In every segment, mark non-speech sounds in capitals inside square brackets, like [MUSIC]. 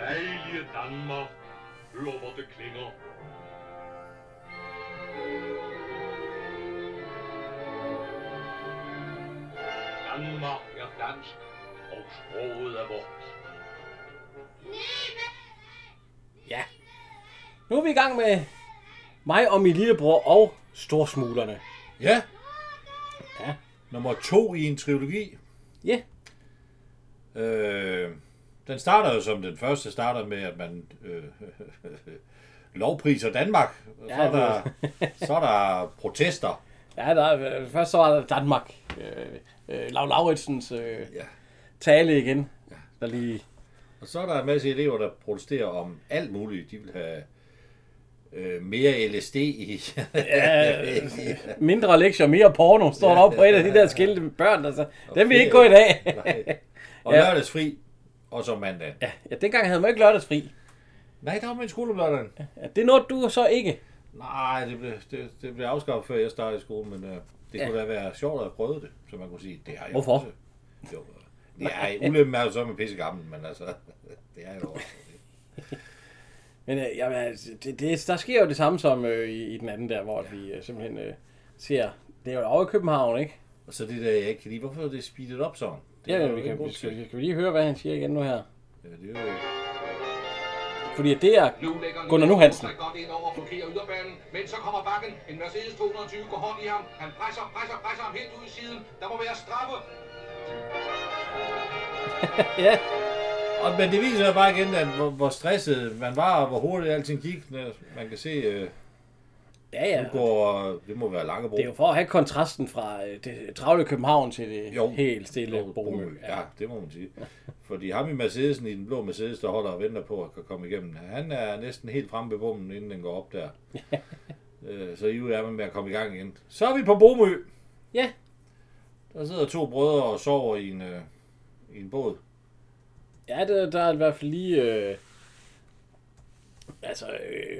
Dejlige Danmark, lover det klinger. Danmark er dansk, og sproget er vort. Ja. Nu er vi i gang med mig og min lillebror og storsmuglerne. Ja. Ja. Nummer to i en trilogi. Ja, Øh, den starter jo som den første, starter med, at man øh, lovpriser Danmark. Så, Ja, er der, så er der protester. ja der, er- øh, først så var der Danmark. Øh, øh, Lav Lauritsens øh, Ja. tale igen. Der lige... Og så er der en masse elever, der protesterer om alt muligt. De vil have øh, mere LSD i. Ja, mindre lektier, mere porno, står der oppe på et af de der skilte med børn. Der, så, den vil ikke gå i dag. og Ja. lørdagsfri. Og så mandag. Ja. [LAUGHS] ja, dengang havde man ikke lørdagsfri. Nej, der var min skole om lørdagen. Ja, det nåede du så ikke. Nej, det blev, det, det blev afskaffet, før jeg startede i skole, men øh, det Ja. ja. kunne da være sjovt at have prøvet det, så man kunne sige, det har jeg Hvorfor? Også. Jo, nej, ulempen er jo så med pisse gammel, men altså, [LAUGHS] det er jo også. Men øh, jamen, altså, det, det, der sker jo det samme som øh, i, i den anden der, hvor ja. vi øh, simpelthen øh, ser... Det er jo over i København, ikke? Og så det der, jeg ikke kan lide, hvorfor er det speedet op sådan? Det Ja, er ja, jo vi ikke en kan, grund vi skal, til. vi- skal vi lige høre, hvad han siger igen nu her? Ja, det er jo... Fordi det er... Nu lægger Gunnar Nu Hansen. Nielsen sig godt ind over og blokerer yderbanen, men så kommer bakken. En Mercedes 220 går hårdt i ham. Han presser, presser, presser ham helt ud i siden. Der må være straffe. Ja, Og, men det viser jo bare igen, at hvor, hvor stresset man var, og hvor hurtigt alting gik. Når Man kan se, øh, ja. ja. nu går, det må være Langebro. Det er jo for at have kontrasten fra øh, det travle København til det Jo. helt stille Bromø. Ja. ja, det må man sige. Fordi ham i Mercedesen, i den blå Mercedes, der holder og venter på at kan komme igennem, han er næsten helt fremme ved bommen, inden den går op [LAUGHS] der. Øh, så i er man med at komme i gang igen. Så er vi på Bomø. Ja. Der sidder to brødre og sover i en, øh, i en båd. Ja, der, der er i hvert fald lige... Øh, altså, øh,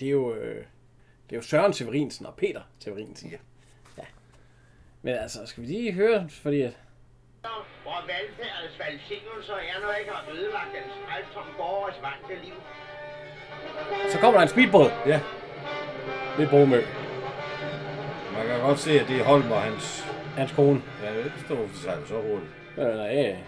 det er jo... Øh, det er jo Søren Severinsen og Peter Severinsen. Ja. ja. Men altså, skal vi lige høre, fordi... At, hvor velfærdens velsignelser er, når ikke har ødelagt den strejf, som borgers vante liv. så kommer der en speedbåd Ja, ved Bromø. man kan godt se, at det er Holm og hans... Hans kone. Ja, jeg ved ikke, forstå, hvorfor de sejler så hurtigt. Øh, nej, øh.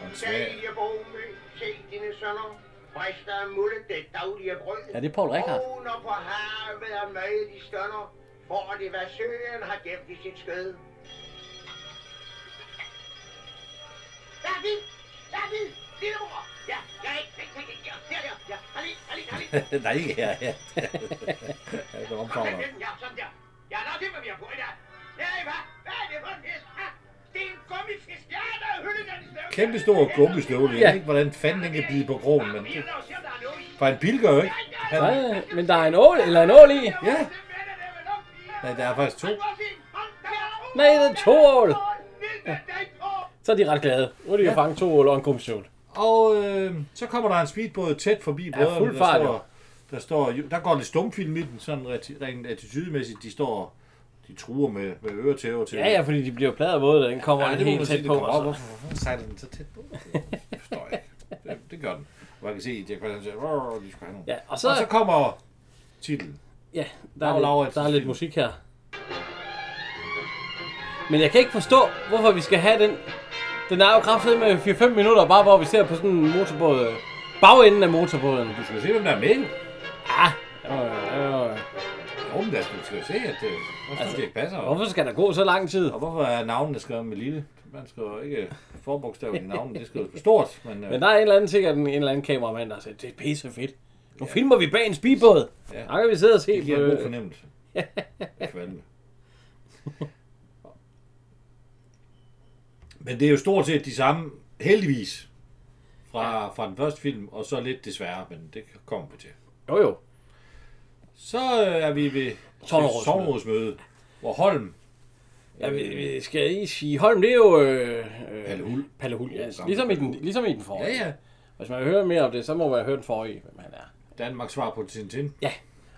Og en smag. Daglige bomme, se dine sønner, frister af mulde det daglige brød. Ja, det er Poul Reichhardt. Kroner på havet og møde de stønder, for det hvad søen har gemt i sit skød. David! David! Lillebror! Ja, ja, ja, ja, ja, ja, ja, ja, halli, halli, halli. [LAUGHS] [LAUGHS] Nej, ikke her. Ja, ja. det Kom omfavner. med den, ja, sådan der. Ja, nå, det må vi have på i dag. Hey, hvad? Hvad er det for en fisk? Ha? Det er en gummifisk. Ja, der er hyldet den i snøvlen. Kæmpe stor gummistøvle. Jeg Ja. ved ikke, hvordan fanden den kan bide på krogen, men... Det... Lad os se, om der er noget i. For en pilker jo ikke. Han, Nej, men der er en ål, eller en ål i. Ja. Nej, der er faktisk to. Nej, det er to ål. Så er de ret glade. Nu er de jo fanget to ål og en gummistøvle. Og øh, så kommer der en speedbåd tæt forbi brødrene. fuld fart, der, jo. står, der, står, der går lidt stumfilm i den, sådan reti- rent attitydemæssigt. De står de truer med, med øretæver til. Ja, ja, fordi de bliver plader våde, da den kommer ja, det må man helt sige, tæt det på. kommer op. Og så. Hvorfor, hvorfor sejler den så tæt på? Det forstår jeg ikke. Det, det gør den. Og man kan se, at Jack Christian siger, "Rrr, de skal have nogle. Ja, og så, Og så kommer titlen. ja, der Laura er, lidt, Lauritsens der er lidt film. musik her. Men jeg kan ikke forstå, hvorfor vi skal have den. Den er jo kraftet med 4-5 minutter, bare hvor vi ser på sådan en motorbåd. øh, Bagenden af motorbåden. Du skal jo se, hvem der er med. jo. Ah, øh, øh. Jo, men der skal, du skal jo se, at det, altså, det ikke passer. Hvorfor skal der gå så lang tid? Og hvorfor er navnene skrevet med lille? Man skriver ikke forbogstaven i navnene, det skrives med stort. Men, øh, Men der er en eller anden sikkert en, en eller anden kameramand, der har sagt, det er pisse fedt. Nu filmer vi bag en speedbåd. Ja. Ja. Der kan vi sidde og se Det giver en god på... øh, [LAUGHS] fornemmelse. Ja, fandme. Men det er jo stort set de samme, heldigvis, fra, ja. fra den første film, og så lidt desværre, men det kommer vi til. Jo jo. Så øh, er vi ved Sognerådsmøde. sovnrådsmøde, hvor Holm, Ja, vi, vi skal lige sige, Holm, det er jo... Øh, øh, Palle Hul. Palle Hul, ja. gammel Ligesom i, den, ligesom i den forrige. ja ja, Hvis man vil høre mere om det, så må man høre den forrige, hvem han er. Danmarks svar på Tintin. Ja.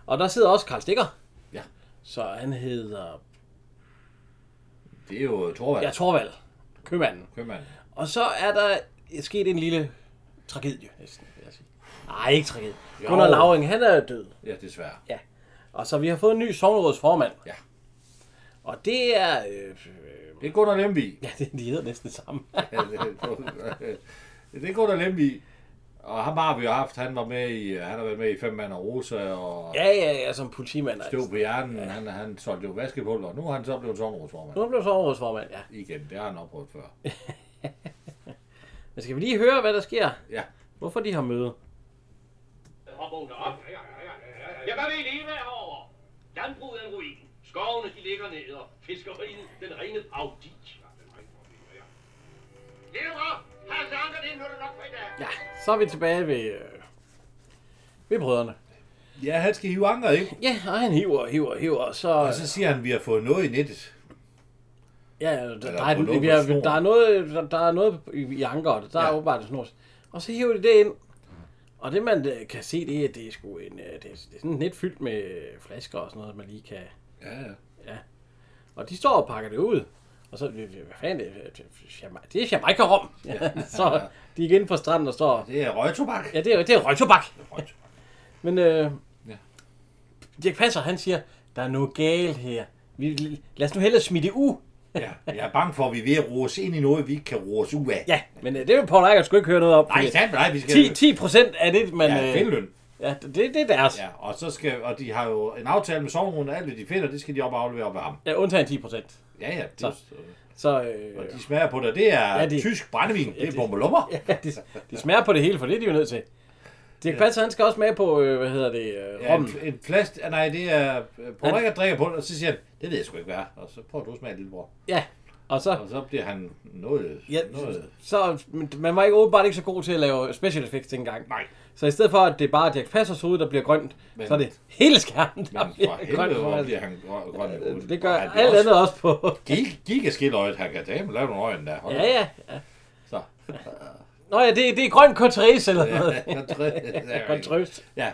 Og der sidder også Karl Stikker. Ja. Så han hedder... Det er jo Thorvald, Ja, ja. Torvald. Købmanden. købmanden. Og så er der sket en lille tragedie, næsten, vil jeg sige. Nej, ikke tragedie. Jo. Gunnar Lauring, han er død. Ja, desværre. Ja. Og så vi har fået en ny sovnrådsformand. Ja. Og det er... Øh, øh, Det er Gunnar Lemby. ja, [LAUGHS] det- de hedder næsten det samme. Ja, det- det er Gunnar Lemby. Og ham har vi jo haft. Han var med i, han har været med i Fem Mand og Rosa og ja, ja, ja, som politimand. Støv på hjernen. Han, han solgte jo vaskepulver. og Nu er han så blevet sovnrådsformand. Nu blev sovnrådsformand, ja. Igen, det har han oprådt før. Men skal vi lige høre, hvad der sker? Ja, Hvorfor de har møde? Og vågner op. Jeg hvad vil I leve herovre? Landbruget er en ruin. Skovene de ligger ned, og fiskeriet den rene paudi. Lever! Har sanker det nu er det nok for i dag. Ja, så er vi tilbage ved... Øh, ved brødrene. ja han skal hive ankeret, ikke? Ja, og han hiver og hiver og hiver, og så... Og så siger han, at vi har fået noget i nettet. ja, der, der, Eller er, på vi har, snor. der, er noget, der, der er noget i i ankeret. Der ja. Ja. er åbenbart en snors. Og så hiver de det ind. Og det, man øh, kan se, det er, at det er sgu en... øh, Det er, det er sådan net fyldt med øh, flasker og sådan noget, man lige kan... Ja, ja. Og de står og pakker det ud. Og så, øh, øh, hvad fanden, det er, det er jamaica-rom. Ja. [LAUGHS] så de er igen på stranden og står... Det er røgtobak. Ja, det er, det er røgtobak. Røgtobak. Men øh, ja. Ja. Dirk Passer, han siger, der er noget galt her. Vi, lad os nu hellere smide det ud. Ja, jeg er bange for, at vi er ved at roe os ind i noget, vi ikke kan roe os ud af. Ja, men øh, det vil Paul Eikert sgu ikke høre noget om. Nej, fordi sandt nej, vi skal... 10, 10 procent af det, man... øh, Ja, finløn. ja det, det er deres. Ja. Ja, og, så skal, og de har jo en aftale med sovnruen, og alt det de finder, det skal de op og aflevere op af ham. ja undtagen 10 procent. Ja, ja. Det, Så og øh, de smager på det. Det er Ja, ja, det- det, tysk brændevin. Det er bommelummer. Ja, ja, de, de smager på det hele, for det er de jo nødt til. Dirk Passer, han skal også med på, øh, hvad hedder det, øh, ja, rommen. en, en plast... Ah, nej, det er... Prøv ikke at drikke på det, og så siger han, det ved jeg sgu ikke hvad. er." Og så prøver du at smage, lillebror. Ja, og så... Og så bliver han noget... Ja, noget så men man var ikke åbenbart ikke så god til at lave special effects dengang. nej. Så i stedet for, at det er bare Dirk Passers hoved, der bliver grønt, men, Men- så er det hele skærmen, der Men bliver for grønt. helvede, hvor faktisk. bliver han grøn, grøn i hovedet. det gør Og han bliver alt også andet også på. Gig, gigaskildøjet, han kan dame lave nogle øjne der. Hold ja, da. ja, ja. Så. Nå ja, det, det er grøn Cotrese eller noget. [LAUGHS] Ja, Grøn kontræ- trøst. ja.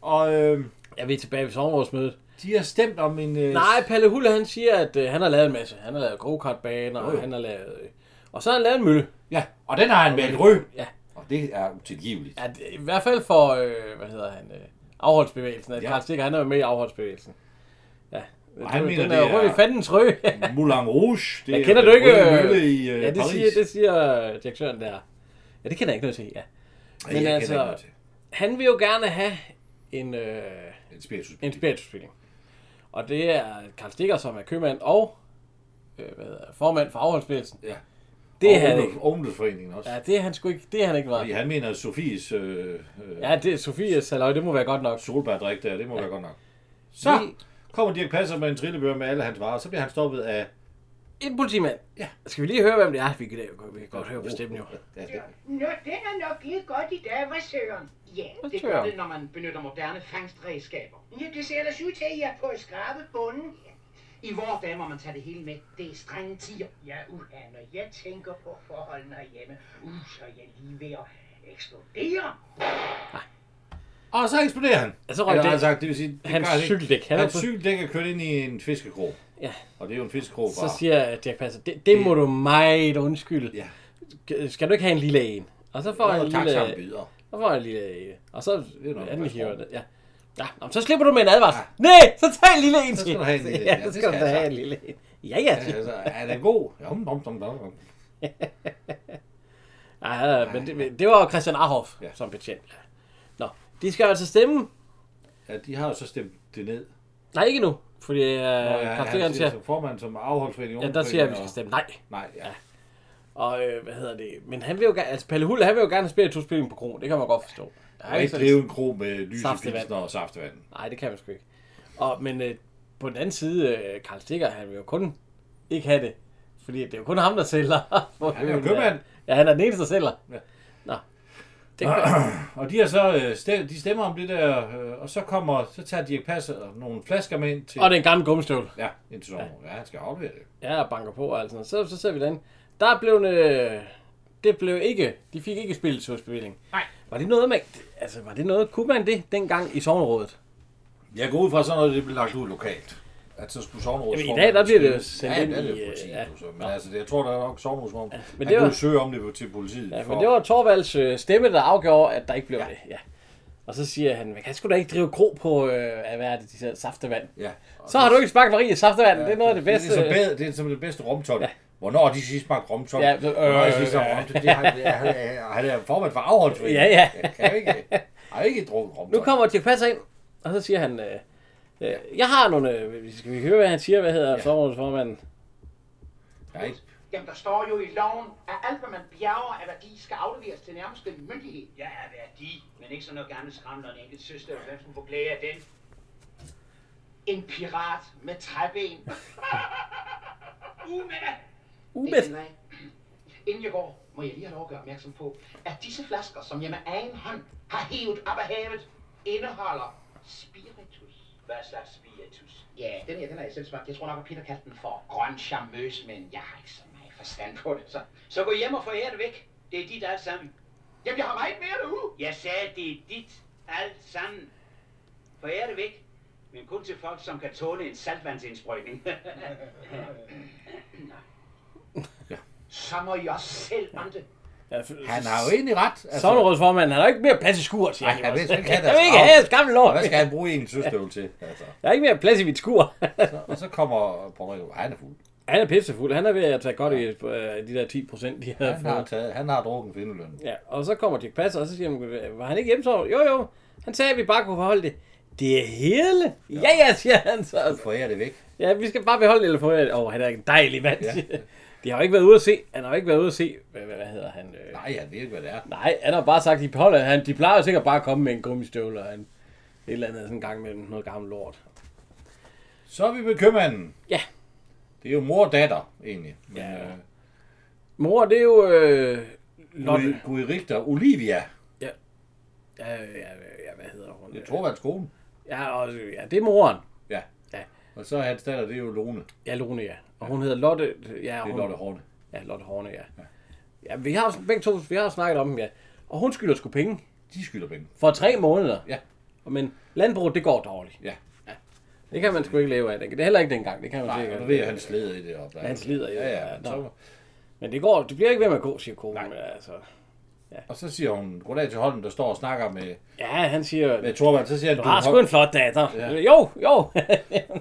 Og øh, Ja, vi er tilbage ved sommerårsmødet. de har stemt om en... Øh, Nej, Palle Hulle, han siger, at øh, han har lavet en masse. Han har lavet go-kartbaner, Jo, jo. og han har lavet... Øh, og så har han lavet en mølle. Ja, og den har han valgt rød. Ja. Og det er utilgiveligt. Ja, det, I hvert fald for, øh, hvad hedder han, øh, afholdsbevægelsen. At ja. Ja. Karl Stikker, han er jo med i afholdsbevægelsen. Ja, Og han den, mener, den [LAUGHS] det er jo rød i er- fandens røg. Moulin Rouge. Det Jeg er kender den du ikke, røde øh, mølle i øh, ja, det Paris. siger, det siger øh, direktøren der. Ja, det kender jeg ikke noget til, ja. Ej, jeg men kender altså- ikke noget til. Han vil jo gerne have en, øh, En spiritus. en spiritusfilm. Og det er Karl Stikker, som er købmand og øh, hvad hedder, det, formand for afholdsbevægelsen. Ja. Det er og han ungdoms- ikke. Ungdomsforeningen også. Ja, det er han sgu ikke. Det er han ikke Fordi meget. han mener, at Sofies øh, øh, Ja, det er Sofies halløj, det må være godt nok. solbærdrik der, det må være godt nok. Så kommer Dirk Passer med en trillebør med alle hans varer, så bliver han stoppet af... En politimand. Ja. Oh, Skal vi lige høre, hvem det er? Vi kan, vi kan godt høre på stemmen jo. Ja, det, Nå, den er nok lige godt i dag, hvad Søren? Ja, Hvad det Søren? gør det, når man benytter moderne fangstredskaber. Ja, det ser ellers ud til, at I er på at skrabe bunden. Ja. I vore dage må man tage det hele med. Det er strenge tiger. Ja, uha, når jeg tænker på forholdene herhjemme, uh, så er jeg lige ved at eksplodere. Og så eksploderer han. Ja, så røg Eller det- rettere sagt, det vil sige, det hans gør han ikke. cykeldæk. Han er Hans på- cykeldæk er kørt ind i en fiskekrog. Ja. Og det er jo en fiskekrog Så fra... siger Dirk Passer, det, det må du meget undskylde. Ja. Skal du ikke have en lille en? Og så får han en lille... lille... Så får jeg lige øh, Og så er nok anden meget hiver sjovt. det. Ja. Ja, nå, men så slipper du med en advarsel. Ja. Nej, så tag en lille en til. skal du have en lille en. Ja, så Ja, det skal skal du da jeg have så. en lille en. Ja, ja. Ja, altså, er den god? Jom, dom, dom, dom, dom. ja, ja men det, men det var jo Christian Arhoff ja. Ja. som betjent. Ja. Nå, de skal altså stemme. Ja, de har jo så stemt det ned. Nej, ikke nu. Fordi øh, Og ja, han- Karl han Stikker siger, siger, som formand, som afholdsforening. ja, der siger, at vi skal stemme nej. Nej, ja. Og øh, hvad hedder det? Men han vil jo gerne, altså Palle Hull, han vil jo gerne have spiritusspilling på krogen. Det kan man godt forstå. Der er Og ikke så- drive en krog med Saftevand. lysepilsner og saftevand. Nej, det kan man sgu ikke. Og, men øh, på den anden side, øh, Karl Stikker, han vil jo kun ikke have det. Fordi det er jo kun ham, der sælger. [LAUGHS] Han er jo købmand. Ja, han er den eneste, der sælger. Ja. Ja. Det kan Og de har så øh, stem, de stemmer om det der, øh, og så kommer, så tager Dirk Passer nogle flasker med ind til, og den gamle gummistøvle. ja, ind til sommeren. Ja, han skal aflevere det. Ja, og banker på og alt sådan noget. Så, så ser vi den. Der blev en, øh, det blev ikke, de fik ikke spilletursbevilling. Nej. Var det noget med, altså var det noget, kunne man det dengang i sovnerådet? Jeg går ud fra sådan noget, det bliver lagt ud lokalt. At så skulle sovnrådet... Jamen, i dag, der bliver det jo sendt ja, ind Ja, det er i, det øh, jo præcis. ja. Ja. Så. Men altså, jeg tror, der er nok sovnrådsform. Ja, men men det det var- kunne søge om det på- til politiet. Ja, for- men det var Torvalds øh, stemme, der afgjorde, at der ikke blev ja. det. Ja. Og så siger han, man kan sgu da ikke drive kro på, øh, hvad er det, de siger, saftevand. Ja. Så har du ikke smagt Marie saftevand, ja, det er ligesom noget af det bedste. Det er, som bedre, det er som det bedste romtol. Ja. Hvornår har de sidst smagt romtol? Ja, Ja, øh, Hvornår har de sidst smagt romtol? Det har, han, er- han er formand for afholdsforeningen. Ja, ja. Jeg kan ikke, jeg har ikke drukket romtol. Nu kommer Dirk Passer ind, og så siger han, øh, øh, jeg har nogle, øh, skal vi høre, hvad han siger, hvad hedder ja. sovnerådsformanden? Jeg har ikke Jamen, der står jo i loven, at alt, hvad man bjerger af værdi, skal afleveres til nærmeste myndighed. Ja, af værdi, men ikke sådan noget gammelt skræmt og en enkelt søster, og hvem skulle få glæde af den? En pirat med træben. [LAUGHS] Umæt! Ubet. Inden jeg går, må jeg lige have lov at gøre opmærksom på, at disse flasker, som jeg med egen hånd har hævet op af havet, indeholder spiritus. Hvad slags spiritus? Ja, den her, den har jeg selv smagt. Jeg tror nok, at Peter kaldte den for grøn charmeuse, men jeg har ikke så meget forstand på det. Så, så gå hjem og få æret væk. Det er dit alt sammen. Jamen, jeg har meget mere derude. Jeg sagde, det er dit alt sammen. Forære det væk. Men kun til folk, som kan tåle en saltvandsindsprøjtning. [LAUGHS] så må I også selv om det. Ja, Han har jo egentlig ret. Altså, Sovnerådsformanden, han har ikke mere plads i skur, siger Nej, han. han jo vil også. [LAUGHS] ikke have Jeg vil deres ikke arv. have et gammelt lort. hvad skal han bruge en søstøvle til? Altså. Jeg har ikke mere plads i mit [LAUGHS] skur. Og så kommer Paul Rikke, han er fuld. han er pissefuld. Han er ved at tage godt i øh, de der 10 procent, de havde Han har, fået. taget, han har drukket findeløn. Ja, og så kommer Dirk Passer, og så siger han, var han ikke hjemmesovet? Jo, jo. Han sagde, at vi bare kunne forholde det. Det er hele. Ja, ja, siger han så. Forærer det væk. Ja, vi skal bare beholde eller få det. Åh, han er en dejlig mand. Ja. De har jo ikke været ude at se. Han har jo ikke været ude at se. Hvad, hvad, hvad hedder han? Øh, Nej, han ved ikke, hvad det er. Nej, han har bare sagt, de beholder han. De plejer jo sikkert bare at komme med en gummistøvle og en, et eller andet sådan en gang mellem noget gammelt lort. Så er vi ved købmanden. Ja. Det er jo mor og datter, egentlig. Men, Ja. ja. øh, Mor, det er jo... Øh, Lotte. Gud- Gud Richter, Olivia. Ja, øh, ja, øh, ja, hvad hedder hun? Jeg tror, han skolen. Ja, og, ja, det er moren. Ja. Ja. Og så er hans datter, det er jo Lone. Det Ja, Lone, ja. Og hun hedder Lotte... Ja, er hun, Lotte Horne. Ja, Lotte Horne, ja. Ja, vi har jo- begge to, vi har jo snakket om dem, ja. Og hun skylder sgu penge. De skylder penge. For tre måneder. Ja. Men landbruget, det går dårligt. Ja. Det kan man sgu ikke leve af. Det det er heller ikke dengang. Det kan man Nej, sikkert. og nu ved jeg, han slider i det op. Ja, han slider i det. Ja, ja. Ja, men Så, nå. Men det, går, det bliver ikke ved med at gå, siger konen. Altså. og så siger hun, goddag til Holm, der står og snakker med, Ja, han siger, med Torvald. Så siger han, du har sgu en flot datter. Ja. Ja. Jo, jo. [LAUGHS]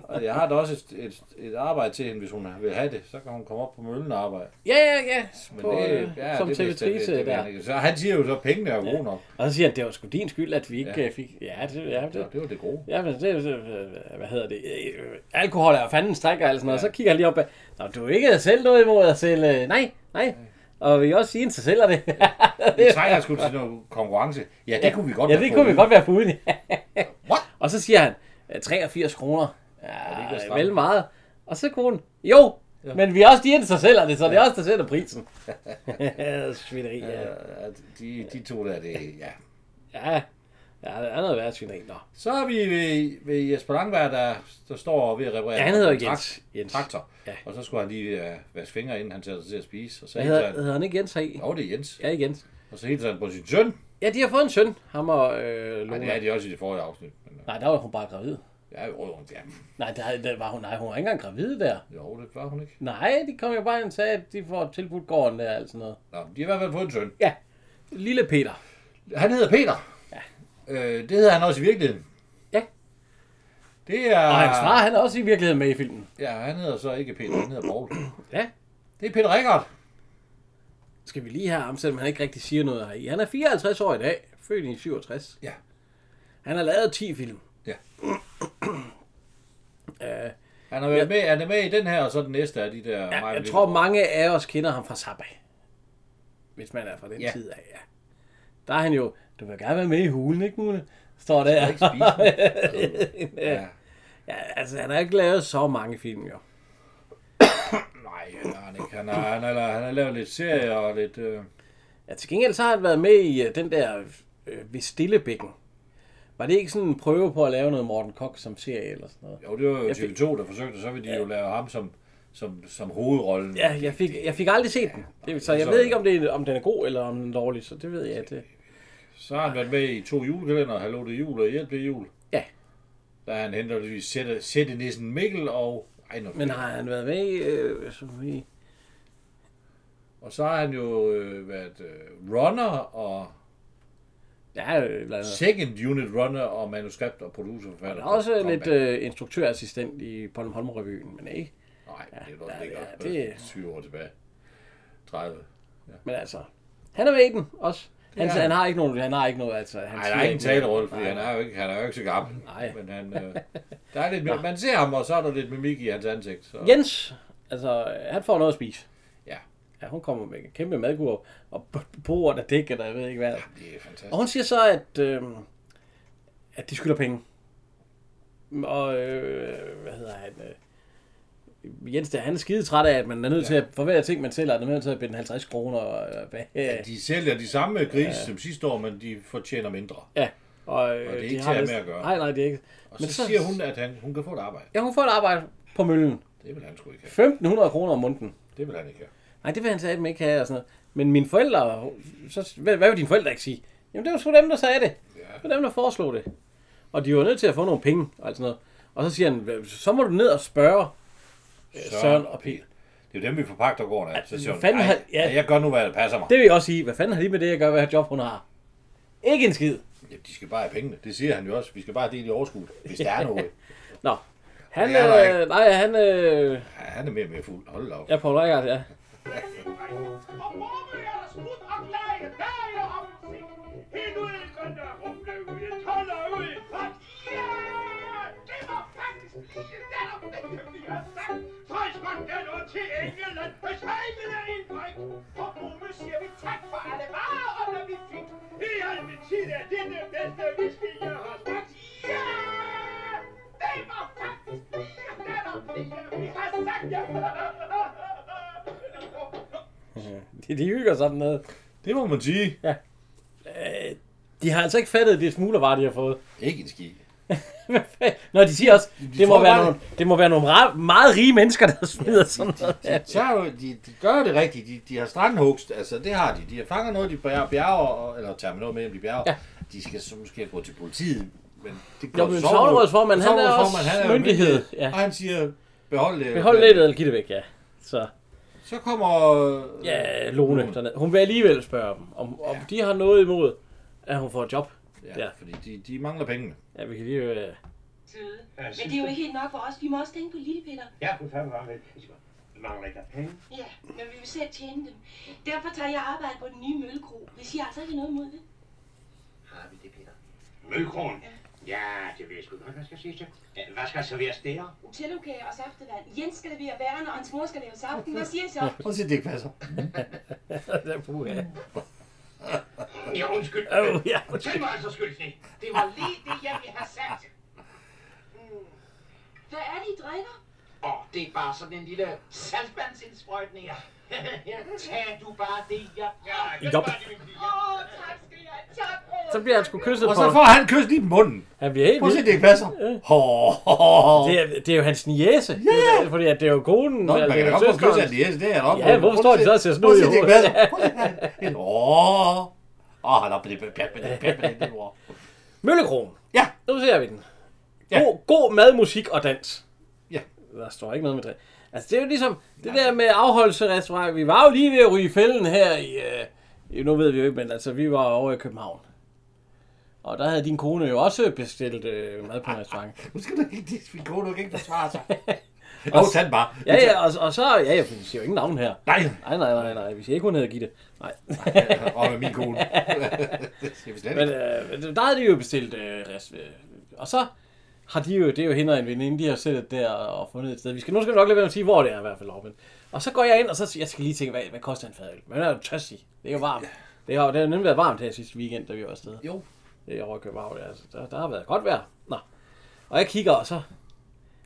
Og jeg har da også et, et, et arbejde til hende, hvis hun vil have det. Så kan hun komme op på møllen og arbejde. ja, ja, ja. Men På, det, ja som det vidste jeg, det- sekretrice det ved der. han ikke. Så han siger jo så, at pengene er gode nok. Og så siger han, det var sgu din skyld, at vi ikke Ja. ja. fik... Ja, det, ja, Ja, det, det var det [LAUGHS] gode. Ja, men det, det, hvad hedder det, øh, øh, alkohol er jo fanden strækker og alt sådan noget, ja. så kigger jeg lige op ad, Nå, du er ikke selv noget imod at sælge, nej, nej, og vi også sige, at sælger det. Vi trænger sgu til noget konkurrence. Ja, det kunne vi [LAUGHS] godt ja, have det kunne vi fået. godt være foruden. What? [LAUGHS] og så siger han, "Øh, 83 kroner, det ikke ja, være det er stramt? vel meget. Og så konen, jo, ja. men vi er også de eneste, der sælger det, så det er også der sætter [LAUGHS] prisen. svineri, ja. Ja, de, de to der, det ja. ja. Ja, det er noget værd svineri. Nå. Så er vi ved, ved Jesper Langberg, der, der står ved at reparere Ja, han hedder en trakt- Jens. Jens. traktor. Ja. Og så skulle han lige uh, vaske fingre, inden han sætter sig til at spise. Og så Hvad hilser hedder, han, hedder han ikke Jens heri? jo, det er Jens. Ja, Jens. Og så hilser han på sin søn. Ja, de har fået en søn, ham og øh, Lone. Nej, det er de også i det forrige afsnit. Men, øh, Nej, der var hun bare gravid. ja, jo, jo, ja, Nej, der, der var hun, nej, hun var ikke engang gravid der. jo, det var hun ikke. Nej, de kom jo bare ind og sagde, at de får tilbudt gården der og alt sådan noget. Nå, de har i hvert fald fået en søn. Ja, lille Peter. Han hedder Peter. Ja. Øh, det hedder han også i virkeligheden. Ja. Det er... Og hans far, han er også i virkeligheden med i filmen. Ja, han hedder så ikke Peter, han hedder Paul. Ja. Det er Peter Rikard. Skal vi lige have ham, selvom han ikke rigtig siger noget heri. Han er 54 år i dag, født i 67. Ja. Han har lavet 10 film. Ja. Øh, Han har været med, han er med i den her, og så den næste af de der... ja, Maja jeg Lilleborg. tror, mange af os kender ham fra Zappa. Hvis man er fra den Ja. tid af, ja. Der er han jo, du vil gerne være med i hulen, ikke Mune? Står der. Jeg kan ikke spise den. [LAUGHS] ja. Ja, altså, han har ikke lavet så mange film, jo. Nej, han har han ikke. Han har, han, har, han har lavet lidt serier og lidt... Øh, Ja, til gengæld så har han været med i øh, den der øh, ved Stillebækken. Var det ikke sådan en prøve på at lave noget Morten Koch som serie eller sådan noget? Jo, det var jo Jeg fik- TV2, der forsøgte, og så ville de jo lave ham som, som, som hovedrollen. Ja, jeg fik, jeg fik aldrig set den. Det, så jeg så- ved ikke, om, det, er- om den er god eller om den er dårlig, så det ved jeg. At, øh, Så har han været med i to julekalender, Hallo det er jul og Hjælp det er jul. Ja. Der er han henholdsvis sætte, sætte nissen Mikkel og... Ej, nå, men har han været med i... Øh, som i Og så har han jo øh, været øh, runner og ja, øh, blandt andet. second unit runner og manuskript og producerforfatter. Han er også Kom lidt med. øh, instruktørassistent i Pollen Holmer-revyen, men ikke. Nej, det er ja, nok ikke. ja, det- Ja, 20 år tilbage. 30. Men altså, han er med i den også. Han, Ja. han har ikke nogen, han har ikke noget, altså. Han Nej, der siger er ingen noget. talerolle, fordi Nej. han er, jo ikke, han er jo ikke så gammel. Nej. Men han, øh, der er lidt, man ser ham, og så er der lidt mimik i hans ansigt. Så. Jens, altså, han får noget at spise. Ja. Ja, hun kommer med en kæmpe madkurv, og b- bordet er dækket, og jeg ved ikke hvad. Det er fantastisk. Og hun siger så, at, øh, at de skylder penge. Og, øh, hvad hedder han? Øh, Jens, der, han er skide træt af, at man er nødt ja. til at, for hver ting, man sælger, er man nødt til at binde 50 kroner. Og, hvad, ja, De sælger de samme grise ja. som sidste år, men de fortjener mindre. ja. Og, øh, det er de ikke har til at vist- have med at gøre. Nej, nej, det er ikke. Og så, så siger hun, at han, hun kan få et arbejde. Ja, hun får et arbejde på møllen. Det vil han sgu ikke have. 1.500 kroner om måneden. Det vil han ikke have. Nej, det vil han sagde ikke have og sådan noget. Men mine forældre, så, hvad, hvad vil dine forældre ikke sige? Jamen det var sgu dem, der sagde det. Det var dem, der foreslog det. Og de var nødt til at få nogle penge og alt sådan noget. Og så siger han, "Hva- så må du ned og spørge øh, Søren og Peter. Det er jo dem, vi forpagter gården af. Så siger hun, fanden "Ej, har- ja." ja. jeg gør nu, hvad der passer mig. Det vil jeg også sige, hvad fanden har de med det at gøre, hvad her job hun har? Ikke en skid. Jamen, de skal bare have pengene. Det siger han jo også. Vi skal bare have del i overskud, hvis der er [LAUGHS] noget. Nå. Han, Det er der øh, nej, han, øh, Ja, han er mere og mere fuld. Hold da op. ja, Paul Reichert, ja. Og hvor vil jeg da smutte og glæde dig og om sig? Helt ud i grønne rumløve, jeg tåler ud i fat. Ja, det var faktisk lige netop det, som vi har sagt. Træs godt den ud til England, hvis hejmen er en bræk. Og Brumme siger vi tak for alle varer, og når vi fik. I al min tid er det det bedste whisky, jeg har smagt. Ja, det var faktisk lige netop det, vi har sagt. [LAUGHS] Ja. De, de hygger sådan noget. Det må man sige. De har altså ikke fattet det smuglervarer, de har fået. Ikke en ski. [LAUGHS] Nå, de siger også, det må, tror være bare- nogle, det må være nogle ra- meget rige mennesker, der smider sådan noget. Ja. Så er jo- de, de gør det rigtigt. De, de har strandhugst. Altså, det har de. De har fanget noget, de bjerger, bjerger og- eller tager med noget med hjem, de bjerger. Ja. Ja. De skal så måske gå til politiet. Men det Jo, men sognerådsformanden, han er også jo myndighed. Ja. Og han siger, behold det. Behold lidt eller giv det væk, ja. Så, Så kommer... ja, Lone Lone. dernede. Hun vil alligevel spørge dem, om, om de har noget imod, at hun får et job. Ja, Ja. fordi de, de mangler pengene. Ja, vi kan lige... Øh... Søde. Ja, Men synes det er jo ikke helt nok for os. Vi må også tænke på lille Peter. Ja, for fanden var det. Vi mangler ikke af penge. Ja, men vi vil selv tjene dem. Derfor tager jeg arbejde på den nye møllegro, hvis I altså ikke har noget imod det. Har vi det, Peter? Mølkron. Ja, det ved jeg sgu godt, hvad skal jeg sige til. Ja, Hvad skal serveres der? Utellokage og saftevand. Jens skal levere værerne, og hans mor skal lave saften. Hvad siger I så? Prøv at se, det ikke passer. Ja, undskyld. Åh, ja. Fortæl mig altså skyld, Sne. Det var lige det, jeg ville have sagt. [LAUGHS] Hvad er det, I drikker? Åh, det er bare sådan en lille saltvandsindsprøjtning. [LAUGHS] Ja. Tag du bare det, jeg har. Job. Åh, oh, tak skal jeg. Tak, bror. [LAUGHS] Så bliver han sgu kysset Og på. så får han kys lige i munden. Han bliver helt Prøv at se, vild. det ikke passer. Hår, hår, hår. Det, er, det er jo hans niese. Ja. Det er, fordi at det er jo konen. Nå, man eller kan da godt få søsteren. kys af Elias, det er jeg nok. Ja, hvorfor står de så og ser snud Prøv at i se, det ikke hovedet? passer. Prøv at se, han- han- Åh, Åh, han er på det, pjat med det, pjat med det, det ord. Møllekronen. Ja. Nu ser vi den. Ja. God, god mad, musik og dans. Ja. Der står ikke noget med det. Altså, det er jo ligesom det der med afholdelserestaurant. Vi var jo lige ved at ryge i fælden her i... Øh, nu ved vi jo ikke, men altså, vi var over i København. Og der havde din kone jo også bestilt øh, mad på en [LAUGHS] restaurant. Nu skal du ikke, det min kone, du kan ikke forsvare sig. Jo, tag den bare. Ja, ja, og, og så... Ja, jeg siger jo ingen navn her. Nej, Nej, nej, nej, nej. Vi siger ikke, hun hedder Gitte. Nej. og med min kone. Det skal vi slet Men ikke. øh, der havde de jo bestilt øh, rest, øh, Og så har de jo, det er jo hende og en veninde, de har siddet der og fundet et sted. Vi skal, nu skal vi nok lade være med at sige, hvor det er i hvert fald. Robin. Og så går jeg ind, og så siger- jeg skal lige tænke, hvad, hvad koster en fadøl? Men den er jo tørstig. Det er jo varmt. Det har, det har nemlig været varmt her sidste weekend, da vi var afsted. Jo. Det er over i København, altså. Der, der har været godt vejr. Nå. Og jeg kigger, og så...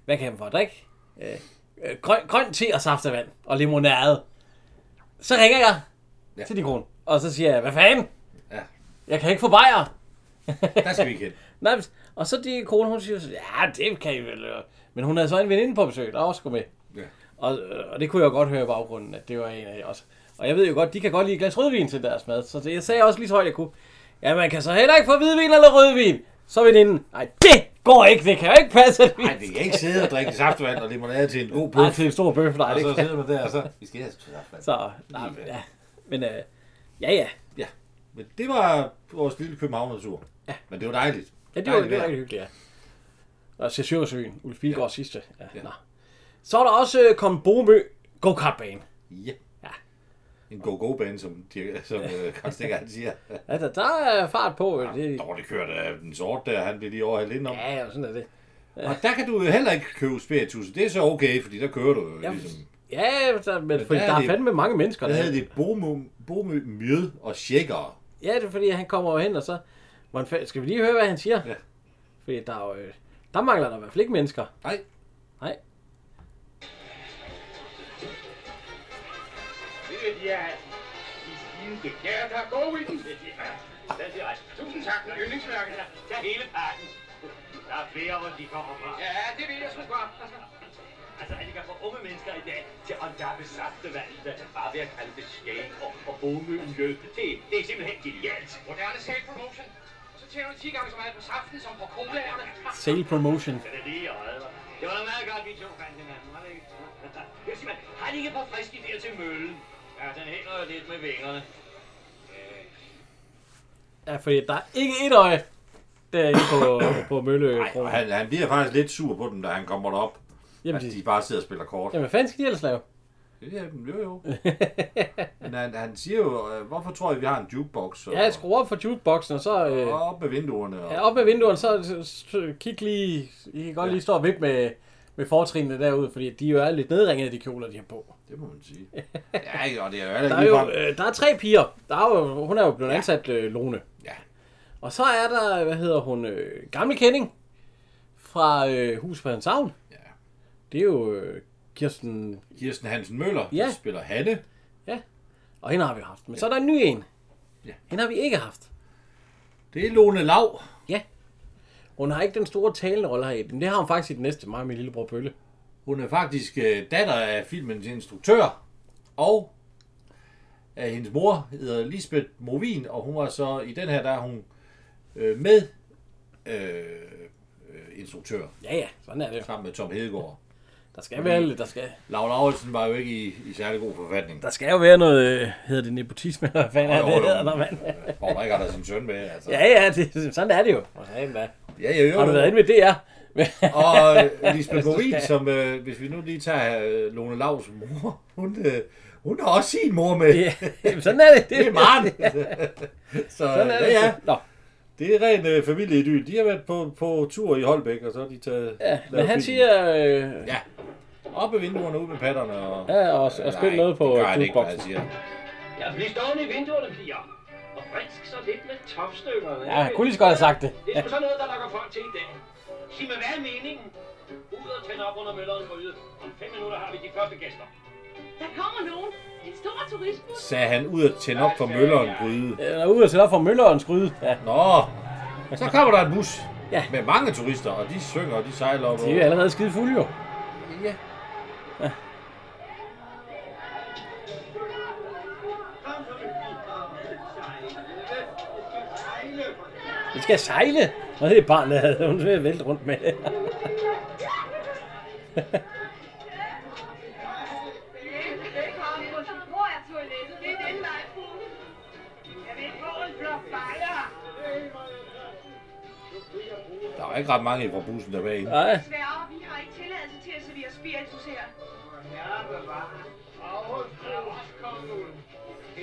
Hvad kan jeg få at drikke? Øh, øh, grøn, grøn te og saftevand og limonade. Så ringer jeg Ja. ja. til din kone og Og så siger jeg, hvad fanden? Ja. Jeg kan ikke få bajer. Der skal vi ikke hen. Nej, men- og så de kone, hun siger, så, ja, det kan I vel. øh." Men hun havde så en veninde på besøg, der også skulle med. Ja. Og, øh, og det kunne jeg jo godt høre i baggrunden, at det var en af jer også. Og jeg ved jo godt, de kan godt lide et glas rødvin til deres mad, så det, jeg sagde også lige så højt, jeg kunne. Ja, man kan så heller ikke få hvidvin eller rødvin. Så veninden, nej, det går ikke, det kan jo ikke passe. at vi Nej, vi kan ikke sidde og drikke saftevand og limonade til en god Nej, bøf. til en stor bøf, nej, Og det så kan. sidder man der, og så... Vi skal have saftevand. Så, nej, men, ja. Men øh, ja, ja. Men det var vores lille københavnertur. Ja. Men det var dejligt. Ja, det var, det var vejr. rigtig hyggeligt, ja. Og Sjæsjørsøen, Ulf Bilgaard ja. sidste. Ja, ja. Nå. Så er der også øh, kommet Bomø go kart bane Ja. Ja. En go-go-bane, som, de, som [LAUGHS] øh, Karl Stikker han siger. Ja, der, der er fart på. Ja, det, Dårligt kørt af den sort der, han blev lige overhældt indenom. Ja. ja, ja, sådan er det. Og der kan du jo heller ikke købe spiritus. Det er så okay, fordi der kører du jo Ja, ligesom. ja der, men, fordi der der, er er det- fandme mange mennesker. Der Der. havde de Bomø, Bomø Mjød og Tjekkere. Ja, det er fordi, han kommer jo hen, og så... Man, skal vi lige høre, hvad han siger? Ja. Fordi der, er jo, øh, der mangler der i hvert fald ikke mennesker. Nej, Nej. Det er de skide. Ja, der er god i den. Den siger ret. Tusind tak for yndlingsmærket. Der er hele pakken. Der er flere, hvor de kommer fra. Ja, det vil jeg sgu godt. Altså, at de kan få unge mennesker i dag til at dappe saftevand, der er bare ved at kalde det skæg og, og bomøljø. Det, det er simpelthen genialt. Moderne selv promotion. Så tjener du 10 gange så meget på saften som på colaerne. Sale promotion. Den er lige i øjet, hva'? Det var da meget godt, vi to fandt hinanden, var det ikke? [LAUGHS] Jeg siger, man, har de ikke et par friske idéer til møllen? Ja, den hænger jo lidt med vingerne. Ja, fordi der er ikke et øje derinde på, på Mølle. Nej, og han, han bliver faktisk lidt sur på dem, da han kommer derop. Jamen, At de de, bare sidder og spiller kort. jamen, hvad fanden skal de ellers lave? Ja, jo [LAUGHS] jo. Men han, han siger jo, øh, hvorfor tror I, vi har en jukebox? Og, Ja, skru op for jukeboxen, og så... Øh, og op med vinduerne. Og, Ja, op med vinduerne, så så- så kig lige, I kan godt lige stå og vippe med, med fortrinene derude, fordi de jo er lidt nedringede, de kjoler, de har på. Det må man sige. Ja, og det er jo heller Der er ikke jo ligefrem. øh, der er tre piger. Der er jo, hun er jo blevet ansat øh, Lone. Ja. Og så er der, hvad hedder hun, øh, gamle kending fra øh, Hus på Hans Havn. Ja. Det er jo øh, Kirsten, Kirsten Hansen Møller, Ja. der spiller Hanne. og hende har vi jo haft. Men så er der en ny en. Ja. Hende har vi ikke haft. Det er Lone Lav. Hun har ikke den store talende rolle her i men det har hun faktisk i den næste, mig og min lillebror Pølle. Hun er faktisk øh, datter af filmens instruktør. Og af hendes mor hedder Lisbeth Movin, og hun var så i den her, der er hun øh, med øh, øh, instruktør Ja, ja, sådan er det jo. sammen med Tom Hedegaard. Der skal være lidt, der skal, Lav Lauritsen var jo ikke i, i særlig god forfatning. Der skal jo være noget, øh, hedder det nepotisme, eller hvad fanden er Jo, det, jo. hedder der, mand? Og der ikke har der sin søn med, altså. Ja, ja, det, sådan er det jo. Hvor fanden da. ja, jo, jo. Har du været inde ved [LAUGHS] DR? Og [LAUGHS] øh, Lisbeth Morin, som, øh, hvis vi nu lige tager øh, Lone Lavs mor, hun, øh, hun har også sin mor med. Ja, jamen, sådan er det. Det er [LAUGHS] Maren. Så Sådan er det. ja, ja. Nå, Det er ren øh, familieidyl. De har været på, på tur i Holbæk, og så har de taget... ja, lavet men han film. siger, øh, Ja. Op i vinduerne, ud med patterne og... ja, og, og spil noget på det gør han ikke, hvad han jukeboxen. siger. Ja, bliv stående i vinduerne, piger. Og frisk så lidt med topstykkerne. Ja, jeg kunne lige så godt have sagt det. Det er sgu sådan noget, der lokker folk til i dag. Sig mig, hvad er meningen? Ud og tænde op under mølleren på ydet. Om fem minutter har vi de første gæster. Der kommer nogen. En stor turistbus. Sagde han ud at tænde op for mølleren gryde. Jeg er ude og sætte op for Møllerens gryde. Ja, Nå, så kommer der en bus Ja. med mange turister, og de synger, og de sejler op. de er jo allerede skide fulde jo. Kom så, min pige. Sejle. De skal sejle. Og det er barnet, havde hun ved at vælte rundt med. [LAUGHS] Velkommen på sin bror er toilettet. Det er den vej, Fuglen. Jeg vil få en flok bajer. Der var ikke ret mange fra bussen, der var inde. Nej, Sværre, vi har ikke tilladelse til at servere spiritus her.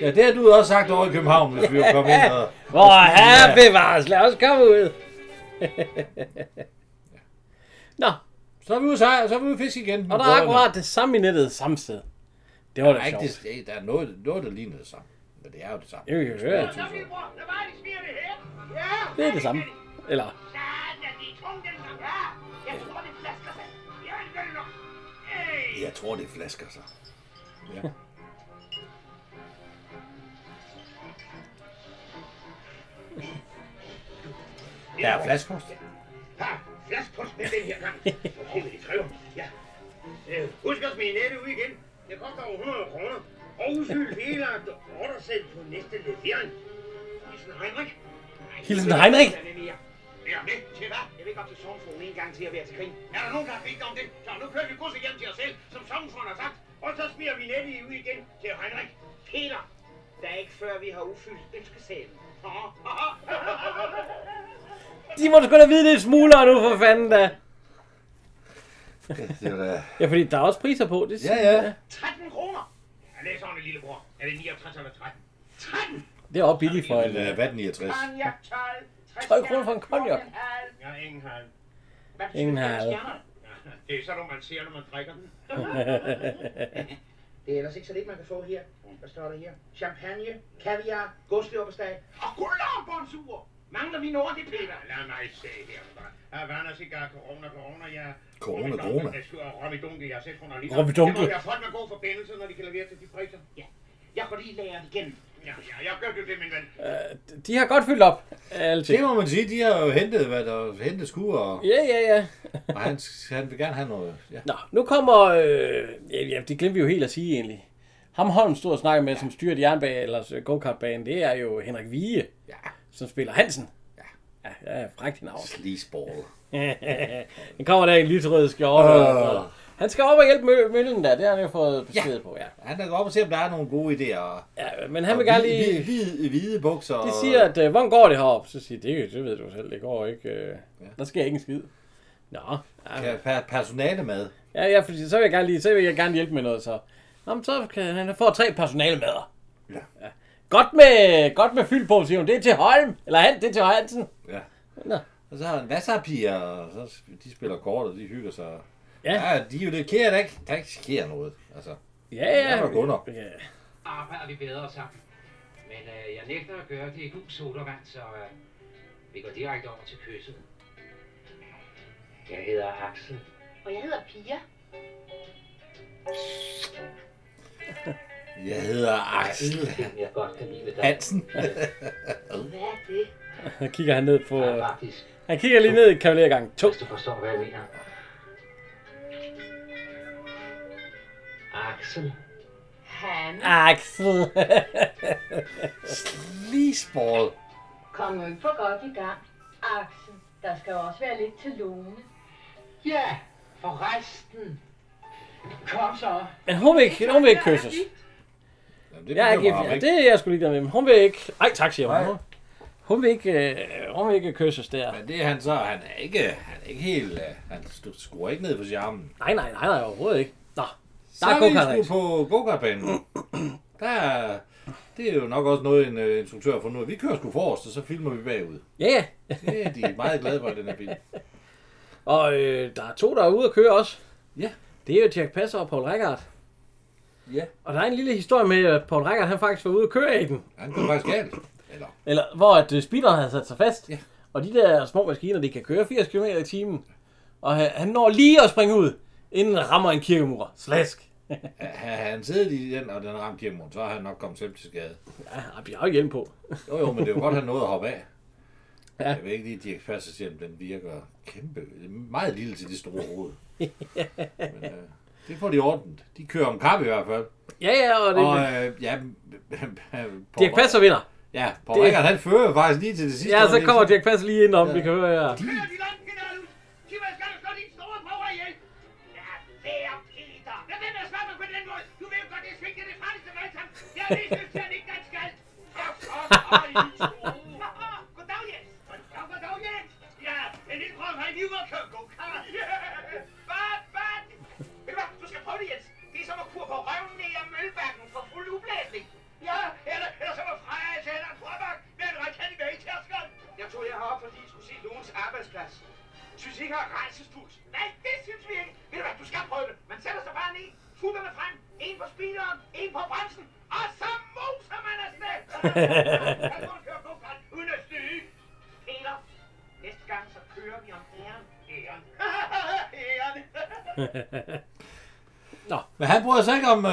Ja, det har du også sagt over i København, hvis vi var kommet ind og... hvor herre bevares. Lad os komme ud. [LAUGHS] Nå, Så er vi ude at sejle, og så er vi ude at fiske igen. Og der er akkurat det samme i nettet samme sted. Det var Der er, da ikke sjovt. det, der er noget, noget, der ligner det samme. Men det er jo det samme. Jo, jo, jo. Spiritus, og- Lad mig, de smiger det her. Det er det samme. Eller, Sådan, at de er tunge, dem der. Ja, jeg tror, det flasker sig. Ja, det gør det nok. Hey. Jeg tror, det flasker sig. Ja. Der er flaskost. Ja, flaskost med den [LAUGHS] her gang. Det vil de kræve. Ja. Øh, husk at smide nettet ud igen. Det koster over 100 kroner. Og udfyld hele ordresæt på næste levering. Hilsen Heinrich. Nej, Hilsen Heinrich? det er mere. Ja, det til hvad? Jeg vil ikke op til Sognsfruen en gang til at være til grin. Er der nogen, der har bedt om det? Så nu kører vi godset hjem til os selv, som Sognsfruen har sagt. Og så smider vi nettet ud igen til Heinrich. Peter, der er ikke før vi har udfyldt ønskesalen. [LAUGHS] De må sgu da vide, det er smuglere nu, for fanden da. Det er da... Ja, fordi der er også priser på. Det Ja, ja. 13 kroner! Jeg læser om det, lillebror. Er det 69 eller 13? 13! Det er også billigt for en. Men øh, hvad er den 69? Konjak 12. 12 kroner for en konjak. Ja, ingen halv. Hvad Ingen betyder halv. stjerner? Ja, Det er sådan, man ser, når man drikker den. [LAUGHS] Det er ellers ikke så lidt, man kan få her. Hvad står der her? Champagne, kaviar, godsløberstag og guldarbonsuger! Mangler mine ord, det Peter. Lad mig se her. Havana, cigar, corona, corona, ja. Corona, corona. Robbie Dunke, jeg har set under lige. Robbie Dunke. Det må være folk med god forbindelse, når de kan levere til de priser. Ja, jeg går lige lære igen. Ja, ja, jeg gør det, min ven. øh, De har godt fyldt op. Altid. Det må man sige, de har jo hentet, hvad der hentet skulle, og, Ja, ja, ja. og han, han vil gerne have noget. Ja. Nå, nu kommer... Øh, ja, ja, det glemte vi jo helt at sige egentlig. Ham Holm stod og snakkede med, som styrer de jernbane, eller øh, go-kartbanen, det er jo Henrik Vige, ja. som spiller Hansen. Ja. Ja, ja, frækt i navn. Sleazeball. Den kommer der i en lyserød skjorte. Åh. Uh. Han skal op og hjælpe mø- møllen der, det har han jo fået besked ja. på, ja. Han er op og se, om der er nogle gode idéer. ja. men han vil gerne lige... Hvide, hvide bukser. De og- siger, at øh, hvordan går det herop? Så siger de, det, det ved du selv, det går ikke. Øh, Der sker ikke en skid. Nå, ja, Ja, per- personale med. Ja, ja, fordi så vil jeg gerne, lige, så vil jeg gerne hjælpe med noget, så. Nå, men så kan han få tre personalmader. Ja. ja. Godt med, godt med fyld på, siger hun. Det er til Holm. Eller han, det er til Hansen. Ja. Nå. Og så har han vasserpiger, og så sp- de spiller kort, og de hygger sig. Ja. Ja, ja de er jo lidt kære, der ikke, der ikke sker noget. Altså, Ja, ja. Ja, Gunnar. Ja. arbejder vi bedre sammen. Men øh, jeg nægter at gøre det i gul sodavand, så øh, vi går direkte over til kysset. Jeg hedder Axel. Og jeg hedder Pia. jeg hedder Axel Dem, jeg godt kan lide ved dig. Hansen. Hvad er det? Så kigger han ned på... Ja, faktisk, Han kigger lige ned i kavalergang 2. hvis du forstår, hvad jeg mener. Axel. Han Axel. [LAUGHS] Sleazeball. kom jo ikke for godt i gang. Axel, der skal jo også være lidt til lone. Ja, for resten. Kom så. men hun vil ikke, hun vil ikke kysses. Jamen, det Jeg er bekymrer ikke, ham, ja, det er jeg sgu ligeglad med. Men hun vil ikke... Ej, tak, siger hun. Nej. Hun vil ikke, øh, hun vil ikke kysses der. Men det er han så, han er ikke, han er ikke helt, øh, han stu- skruer ikke ned på charmen. Nej, nej, nej, nej, overhovedet ikke. Nå, Så der er er vi go-kart sgu på go-kartbanen. Der er, det er jo nok også noget, en øh, instruktør har fundet ud af. Vi kører sgu forrest, og så filmer vi bagud. Ja, ja. Det er de meget glade for, den her bil. Og øh, der er to, der er ude at køre også. Ja. Det er jo Jack Passer og Paul Rickard. Ja. Og der er en lille historie med, at Paul Rickard han faktisk var ude at køre i den. Han går faktisk galt. Eller, Eller hvor at øh, speederen havde sat sig fast. Ja. Og de der små maskiner, de kan køre 80 km i timen. Og han, han når lige at springe ud, inden han rammer en kirkemur. Slask. havde han siddet i den, og den ramte hjemme, så har han nok kommet selv til skade. Ja, han bliver jo ikke hjelm på. Jo, jo, men det er jo godt, at han nåede at hoppe af. Ja. Ja. Jeg ved ikke lige, at Dirk Passer siger, at den virker kæmpe. Meget lille til det store [LAUGHS] hoved. Men, øh, det får de ordent. De kører om kap i hvert fald. Ja, ja, og det... Og Og, øh, øh, ja, [LAUGHS] på Dirk Passer vinder. Ja, på Det- det... Rikard, han fører jo faktisk lige til det sidste. Ja, så øjeblik, kommer Dirk Passer lige ind om, ja. vi kan høre her. Her er de langt, general! Sig mig, skal du slå din store bror ihjel? Ja, vær Peter! Lad være med at svare mig på den måde! Du ved jo godt, det er svigtet det farligste voldsomt! Jeg er lige nødt til, at ikke dansk alt! Goddag, Jens! Goddag, goddag, Jens! Ja, en lille bror har lige ude og køre go-kart! Hvad, hvad? Ved du hvad, du skal prøve det, Jens! Det er som at kurve på røven ned ad mølbakken for fuld ublæsning! Ja, eller, eller som at freje til en akrobat med en rakat i magetærskeren! Jeg tog jer herop, fordi I skulle se Logens arbejdsplads. Synes I ikke har rejsestus? Nej, det synes vi ikke. Ved du hvad, du skal prøve det. Man sætter sig bare ned, fuglerne frem, en på speederen, en på bremsen, og så moser man afsted! Jeg kunne køre på godt, uden at styre. Peter, næste gang så kører vi om æren. Æren. æren. Men han bryder sig ikke om, øh,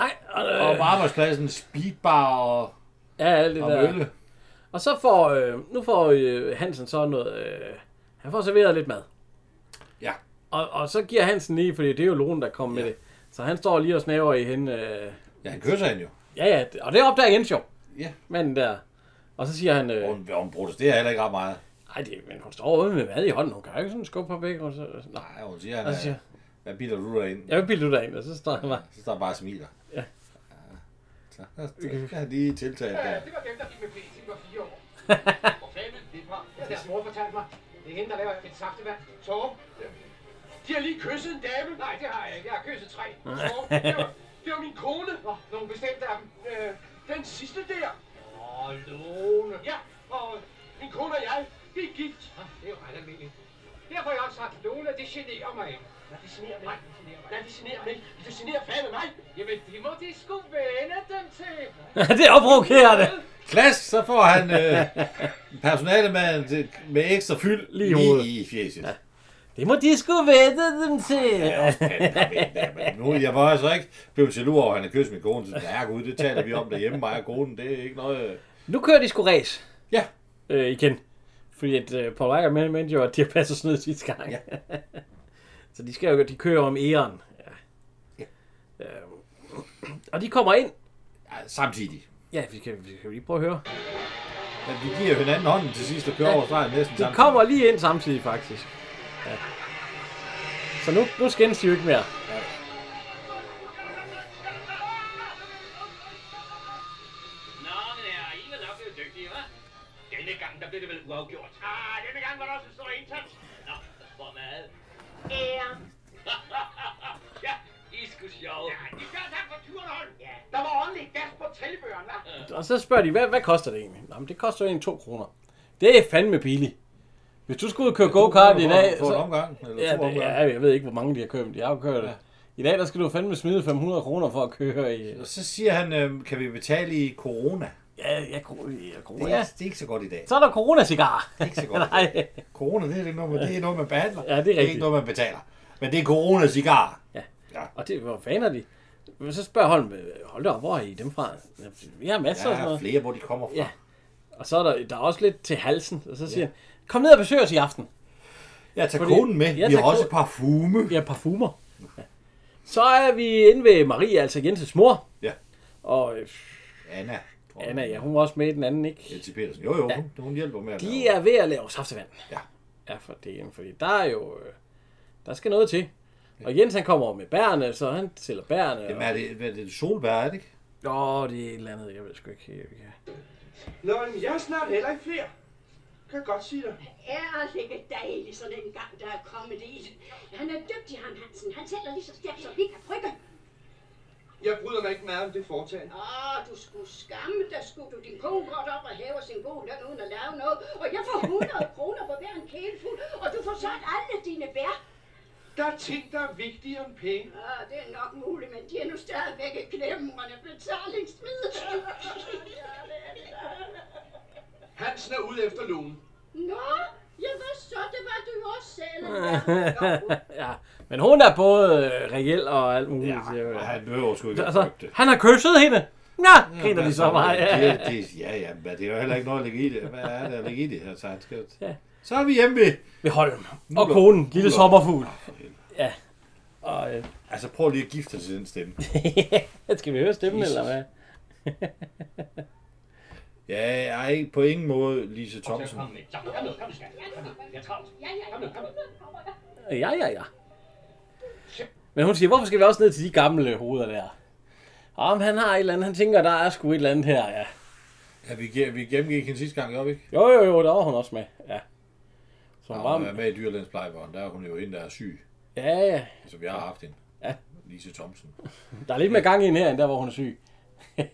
Nej, og, øh, om arbejdspladsen, speedbar og, ja, alt det og der. mølle. Og så får, øh, nu får øh, Hansen så noget, øh, han får serveret lidt mad. Ja. Og, og så giver Hansen lige, fordi det er jo Lone, der kom ja. med det. Så han står lige og snaver i hende. Øh, Ja, han kysser hende jo. ja, ja, det- og det opdager Jens jo. Ja. Manden der. Og så siger han, øh, Hun, hun protesterer heller ikke ret meget. nej, det, men hun står ude med mad i hånden, hun kan jo ikke sådan skubbe på begge. Og så, nej, Nej, hun siger, han, og så siger, altså, hvad bilder du dig ind? jeg vil bilde du dig ind, og så står han bare, [LAUGHS] Så står han bare og smiler. Ja. Så jeg har lige tiltaget der. Det var dem, der gik med PT var fire [LAUGHS] år. Hvor fanden er det fra? Det har deres mor fortalt mig. Det er hende, der laver et saftevand. Torben. De har lige kysset en dame. Nej, det har jeg ikke. Jeg har kysset tre. Torben, det var- Det var min kone. Nå, nogle bestemte af dem. Øh, den sidste der. Åh, Lone. Ja, og min kone og jeg, vi er gift. Nå, Det er jo ret almindeligt. Derfor har jeg også sagt, Lone, det generer mig ikke. Nej, det generer mig. ikke. Det generer mig. Nej, det generer mig ikke. Det generer fandme mig. ikke. Jamen, det må de sgu vende dem til. det er provokerende. Klas, så får han øh, personalemanden til, med ekstra fyld Lige i hovedet. i fjeset. Ja. Det må de sgu vente dem til. Ja, men nu, jeg var altså ikke blevet jaloux over, at han har kysset min kone. Så, ja, gud, det taler vi om derhjemme, mig og konen. Det er ikke noget... øh. Nu kører de sgu race. Ja. Øh, igen. Fordi at øh, Paul Reichert men- mente jo, at de har passet snyd sidste gang. Ja. [LAUGHS] så de skal jo, de kører om æren. Ja. ja. Øh, og de kommer ind. Ja, samtidig. Ja, vi kan, vi kan lige prøve at høre. Men vi giver hinanden hånden til sidst og kører over stregen næsten De sammen. kommer lige ind samtidig, faktisk. Ja. Så nu, nu skændes de jo ikke mere. Nå, men ja, I var nok blevet dygtige, hva'? Denne gang, der blev det vel uafgjort. Ah, denne gang var der også en stor indsats. Nå, hvor meget? Ære. [LAUGHS] ja, I er sgu sjove. Ja, I skal tak for turen, hold. Ja. Der var ordentligt gas på tilbøren, hva'? Og så spørger de, hvad, hvad koster det egentlig? Nå, men det koster jo egentlig 2 kroner. Det er fandme billigt. Hvis du skulle ud og køre go-kart i dag... På en så- omgang, eller Ja, to det, omgange. ja, jeg ved ikke, hvor mange de har kørt, men de har jo kørt ja. I dag, der skal du fandme smide 500 kroner for at køre i... Og så siger han, øh, kan vi betale i corona? Ja, ja, kro- ja, Det kro- er, ja. ikke, det er ikke så godt i dag. Så er der coronasigar. Det er [LAUGHS] ikke så godt. Nej. Corona, det er, ikke noget, man- det er noget, man behandler. Ja, det er Det er rigtigt. ikke noget, man betaler. Men det er corona-cigar. Og det, hvor fanden er de? Men så spørger Holm, øh, hold da op, hvor er I dem fra? Ja, Vi har masser Der og sådan er noget. flere, hvor de kommer fra. Ja. Og så er der, der er også lidt til halsen, og så siger han, kom ned og besøg os i aften. Jeg tager Fordi- konen med. Ja, Vi har tag også konen- parfume. Ja, parfumer. Ja. Så er vi inde ved Marie, altså Jenses mor. Ja. Og øh, Anna. tror jeg. Anna, ja, hun var også med i den anden, ikke? Elsie Petersen. Jo, jo, hun, hun hjælper med at De lave- er ved at lave saftevand. Ja. Ja, for det, fordi der er jo... øh, Der skal noget til. Og Jens han kommer med bærene, så han sælger bærene. Jamen, er det, hvad er det solbær, er det ikke? og, åh, det er et eller andet, jeg ved sgu ikke. helt, hvad det er. Nå, men jeg er snart heller ikke flere. Kan godt sige dig. Er ligge dejlig, så den gang, der er kommet det. Han er dygtig, ham Hansen. Han sælger lige så stærkt, som vi kan frygte. Jeg bryder mig ikke meget om det foretagende. Åh, du skulle skamme dig, skulle du. Din kone går op og hæver sin god løn uden at lave noget. Og jeg får 100 kroner på hver en kælefuld, og du får solgt alle dine bær. Der er ting, der er vigtigere end penge. Ja, det er nok muligt, men de er nu stadigvæk et glemrende betalingsmiddel. Hansen er ude efter Lone. Nå, jeg var så, det var du jo også [LAUGHS] selv. ja, men hun er både øh, reel og alt muligt. Ja, siger, Nej, jeg. han behøver sgu ikke at altså, frygte. han har kysset hende. Nå, griner de så Altså, meget. Ja. Det, det, ja, ja, men det er jo heller ikke noget at lægge i det. Hvad er det at lægge i det her tegnskrift? Ja. Så er vi hjemme ved. Ved Holm. Og går- konen, nu lille går- sommerfugl. Ja. Og, øh, Altså, prøv lige at gifte dig til den stemme. [LAUGHS] skal vi høre stemmen, Jesus. eller hvad? Ja, jeg er ikke på ingen måde Lise Thomsen. kom med. Så, kom nu, kom nu, skat. Kom nu. Jeg er travlt. Ja, ja, Kom nu, kom nu. Ja, ja, ja. Men hun siger, hvorfor skal vi også ned til de gamle hoveder der? Om han har et eller andet, han tænker, der er sgu et eller andet her, ja. Ja, vi, ge- vi gennemgik hende sidste gang, gjorde vi ikke? Jo, jo, jo, der var hun også med, ja. Så hun Ja, var hun Ah, er med. med i dyrlægens plejebørn. Der er hun jo en, der er syg. Ja, ja. Så vi har haft hende. Ja. Lise Thomsen. Der er lidt mere gang i hende her, end der, hvor hun er syg. Ja,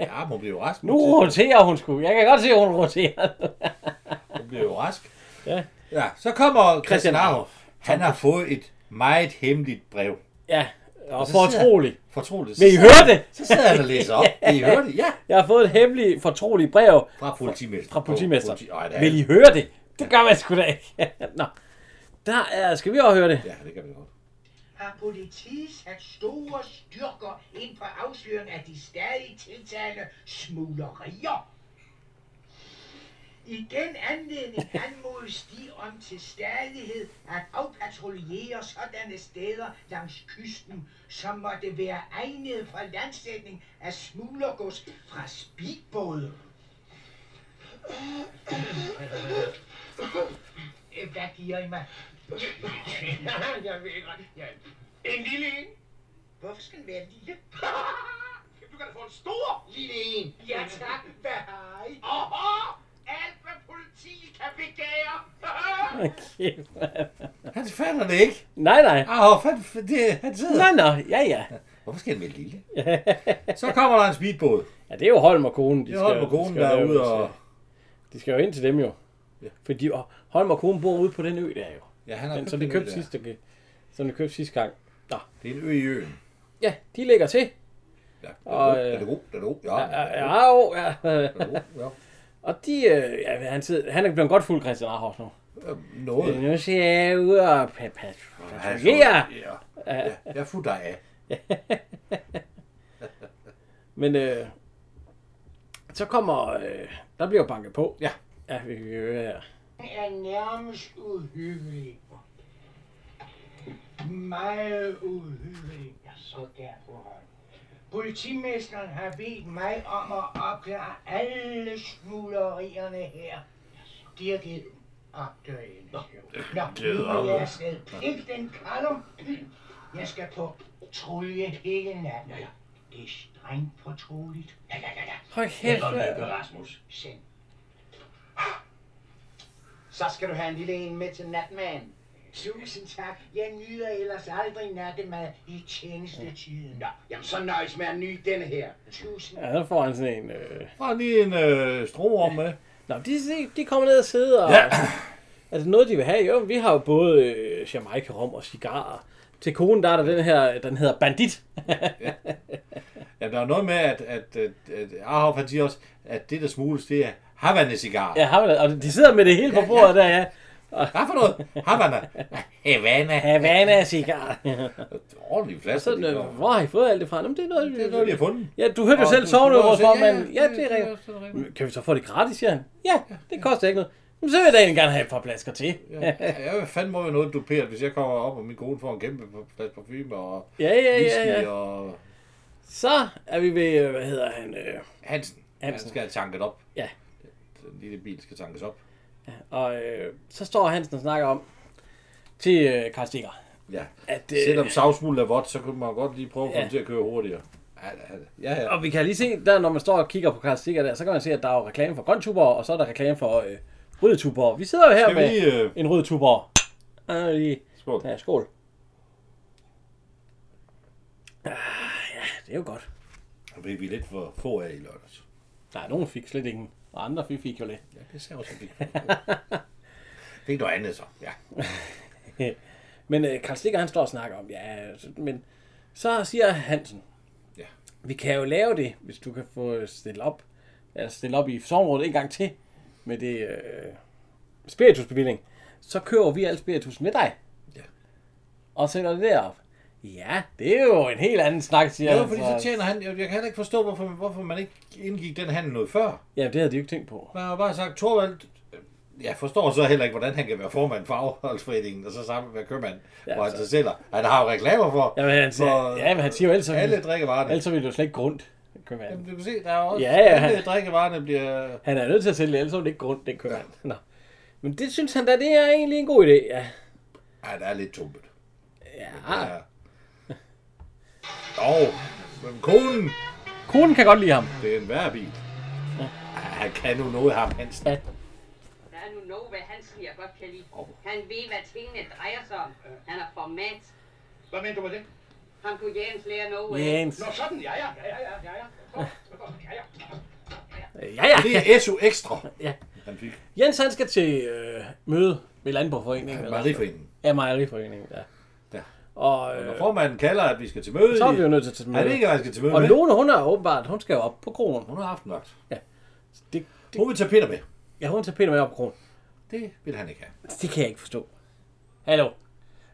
men hun bliver jo rask. Nu roterer hun sgu. Jeg kan godt se, at hun roterer. Hun bliver jo rask. Ja. Ja, så kommer Christian Christian Arhoff. Han har fået et meget hemmeligt brev. Ja, og så fortrolig. Fortroligt. Vil I Så- høre det? Så sidder han og [LAUGHS] læser op. Vil I høre det? Ja. Jeg har fået et hemmeligt fortroligt brev Fra politimester. fra politimester. Politi- Ej, det er- Vil I høre det? Det gør man sgu da ikke. [LAUGHS] Nå. Der er, skal vi også høre det? [LAUGHS] Ja, det kan vi godt. Har politiet sat store styrker ind på afsløring af de stadig tiltagende smuglerier? I den anledning anmodes de om til stadighed at afpatruljere sådanne steder langs kysten, som måtte være egnet for landsætning af smuglergods fra speedbåde. Øh, Hvad giver I mig? [LAUGHS] jeg ved ikke. Ja. En lille en. Hvorfor skal den være lille? [LAUGHS] du kan da få en stor. Lille en. Ja tak. Hvad har I? Aha! Alt hvad politiet kan begære. [LAUGHS] Okay. Han fatter det ikke. nej, nej. Åh, fanden, det, han sidder. Nej, nej. Ja, ja. Hvorfor skal han være [LAUGHS] lille? Så kommer der en speedbåd. Ja, det er jo Holm og konen. De Det er Holm og de konen, skal der er jo- ude og... De skal jo ind til dem jo. Ja. Fordi og Holm og konen bor ude på den ø der jo. Ja, han har Den, som en de ø købte der. sidste, som de købte sidste gang. Det er en ø i øen. Ja, de lægger til. Ja, den Og, er god, øh, den er god, den er god. Ja, Ja, den er ja, god, ja, jo, ja. den er god, ja. Og de, øh, ja, han, sidder, han er blevet godt fuld Christian Arhoff nu. Øhm, Noget. Nu ser jeg ud og pa- pa- patruljere. Ja, ja, jeg fulgte dig af. [LAUGHS] Men øh, så kommer... Øh, der bliver jo banket på. Ja. Ja, vi kan høre her. Den er nærmest uhyggelig. Meget uhyggelig. Jeg så derfor. Politimesteren har bedt mig om at opklare alle smuglerierne her. De har givet opdøjende. Nå, nu er jeg afsted. Plik den kalum. Jeg skal på trulje hele natten. Det er strengt fortroligt. Ja, ja, ja, ja. Hold kæft. mand. Rasmus. Send. Så skal du have en lille en med til natmaden. Tusind tak. Jeg nyder ellers aldrig nattemad i tjenestetiden. Nå, Jamen så nøjes med at nyde denne her. tusind Ja, der får han sådan en... Øh... Der er lige en øh, stroorm med. Nå, de, de- de kommer ned og sidder og... Ja. Altså noget, de vil have. Jo, vi har jo både øh, Jamaica-rom og cigarer. Til konen, der er der den her, den hedder Bandit. Ja, der er noget med, at, at, at, at Arhoff, han siger også, at det, der smugles, det er Havana-cigar. [LAUGHS] ja, har vi da- og de sidder med det hele på bordet der, ja. Hvad for noget? Havana. Havana. Havana-cigar. [LAUGHS] Ordentlig flaske. Sådan, de øh, får. hvor har I fået alt det fra? Jamen, det er noget, Det er noget, de har fundet. Ja, du hørte jo Og selv du- sove du over også- ja, formanden. ja, Ja, det- det det er er også rigtigt. rigtigt. Kan vi så få det gratis, siger han? Ja, det koster ikke noget. Men så vil jeg da egentlig gerne have et par flasker til. Ja, jeg vil fandme være noget duperet, hvis jeg kommer op, og min kone får en kæmpe flaske parfume og Ja, ja, whisky ja, ja. og Så er vi ved, øh, hvad hedder han? øh, Hansen. Hansen. Han skal have tanket op. Ja. Den lille bil skal tankes op. Og øh, så står Hansen og snakker om til øh, Karl Stikker. Ja. At, Det... Selvom øh, savsmulden er vådt, så kunne man godt lige prøve at få Ja. ja. dem til at køre hurtigere. Ja, ja, ja. ja. og vi kan lige se, der når man står og kigger på Karl Stikker der, så kan man se, at der er jo reklame for grøn tuborg, og så er der reklame for øh, rød tuborg. Vi sidder jo her Skal vi med lige... Øh... en rød tuborg. Og lige Skål. Ja, skål. Ah, ja, det er jo godt. Det er vi lidt for få af i lørdags. Nej, nogen fik slet ingen. Og andre fik, fik jo lidt. Ja, det ser også lidt [LAUGHS] Det er noget andet så. Ja. Men øh, Karl Stikker, han står og snakker om, ja, så- men så siger Hansen, Ja. vi kan jo lave det, hvis du kan få øh, stillet op, altså stille op i sovnrådet en gang til, med det øh, spiritusbevilling, så kører vi alt spiritus med dig. Ja. Og sender det derop. Ja, det er jo en helt anden snak, siger Ja, han fordi så tjener han... Jeg, jeg kan heller ikke forstå, hvorfor, hvorfor man ikke indgik den handel noget før. Ja, det havde de jo ikke tænkt på. Man har bare sagt, Torvald... øh, Jeg forstår så heller ikke, hvordan han kan være formand for afholdsforeningen, og så sammen med købmand, ja, hvor han så sælger. Han har jo reklamer for, Jamen, han siger, for ja, men han siger jo ellers, så alle ville, drikkevarerne. ellers så ville det jo slet ikke grundt. Kan man. Jamen, du kan se, der er også Ja, ja. alle drikkevarerne bliver... Han er nødt til at sælge det, ellers er det ikke grund, den kører. Ja. Nå. Men det synes han da, det er egentlig en god idé. Ja. Ej, der er lidt tumpet. ja. Ja. Og men konen, Konen kan godt lide ham. det er en værre bil. Ej, han kan nu noget, ham Hansen. Ja. Der er nu noget ved Hansen, jeg godt kan lide. Åh. Han ved, hvad tingene drejer sig om. Han er format. Hvad mener du med det? Han kunne Jens lære noget af. Jens. Nå sådan, ja ja, ja ja, ja ja, ja. Ja ja. Ja, ja. [LAUGHS] Det er SU Ekstra, Ja. han fik. Jens han skal til øh, møde ved Landborgforeningen. eller- Marieforeningen. Ja, Mejeriforeningen, ja. Ja. Og Når øh, formanden kalder, at vi skal til møde, så er vi jo i- nødt til at tage Han ved ikke, møde. hvad han skal til møde Og med. Lone, hun er åbenbart, hun skal jo op på kronen. Hun har aftenvagt. Det, det, Hun vil tage Peter med. ja, hun tager Peter med op på kronen. Det vil han ikke have. Det kan jeg ikke forstå. Hallo.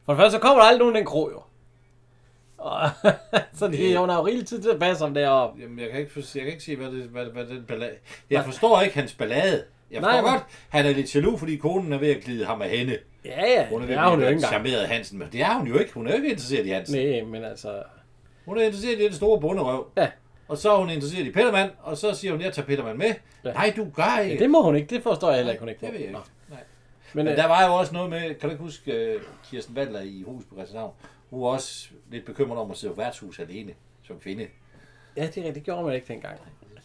For det første, så kommer der aldrig nogen i den krog, jo. Og, [LAUGHS] så det, hun har jo rigelig tid til at passe ham deroppe. Jamen, jeg kan ikke, forstå, jeg kan ikke se, hvad, det, hvad, hvad den ballade... Jeg forstår ikke hans ballade. Jeg Nej, forstår men- godt, han er lidt jaloux, fordi konen er ved at glide ham af hænde. Ja, ja, Hun er ved det er at hun jo blive ikke engang. charmeret af Hansen, men det er hun jo ikke. Hun er jo ikke interesseret i Hansen. Nej, men altså... Hun er interesseret i den store bunderøv. Ja. Og så er hun interesseret i Pettermann, og så siger hun, jeg tager Pettermann med. Ja. Nej, du gør ikke. Ja, det må hun ikke. Det forstår jeg heller ikke, hun ikke det må. ved jeg ikke. Nå. Nej. Men, Men, øh, Men der var jo også noget med, kan du ikke huske uh, Kirsten Valder i Hus på Christianshavn? Hun var også lidt bekymret om at sidde på værtshus alene som kvinde. Ja, det er rigtigt. Det gjorde man ikke dengang.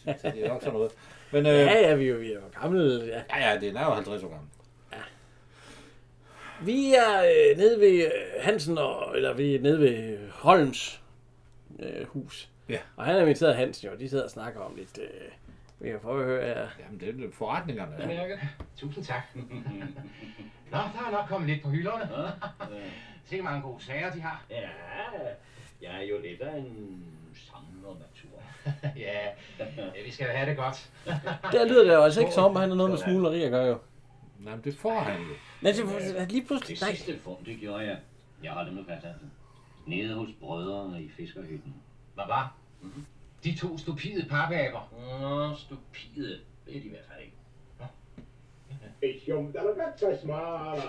Så det er nok sådan noget. Men øh, Ja, ja, ja, vi er jo, vi er jo gamle. Ja. ja, det er jo 50 år gammel. Vi er øh, nede ved øh, Hansen, og, eller vi er nede ved Holms øh, hus. Ja. Og han har inviteret Hansen jo, og de sidder og snakker om lidt... Øh, vi kan prøve at høre her. Jamen, det er jo forretningerne. Ja. Mærke. Tusind tak. Nå, der er nok kommet lidt på hylderne. [LAUGHS] Se, mange gode sager de har. Ja, jeg er jo lidt af en samler natur. [LAUGHS] ja, ja, vi skal have det godt. Der lyder det jo altså ikke som om, at han har noget med smugleri at gøre jo. Nej, men det får han jo. Men det, lige pludselig... Det sidste fund, det gjorde jeg. Jeg holdt nu fast, altså. Nede hos brødrene i fiskerhytten. Mhm. Hvad var? De to stupide papaber. Nå, stupide. Det er de i hvert fald ikke. Ich um da ganz mal.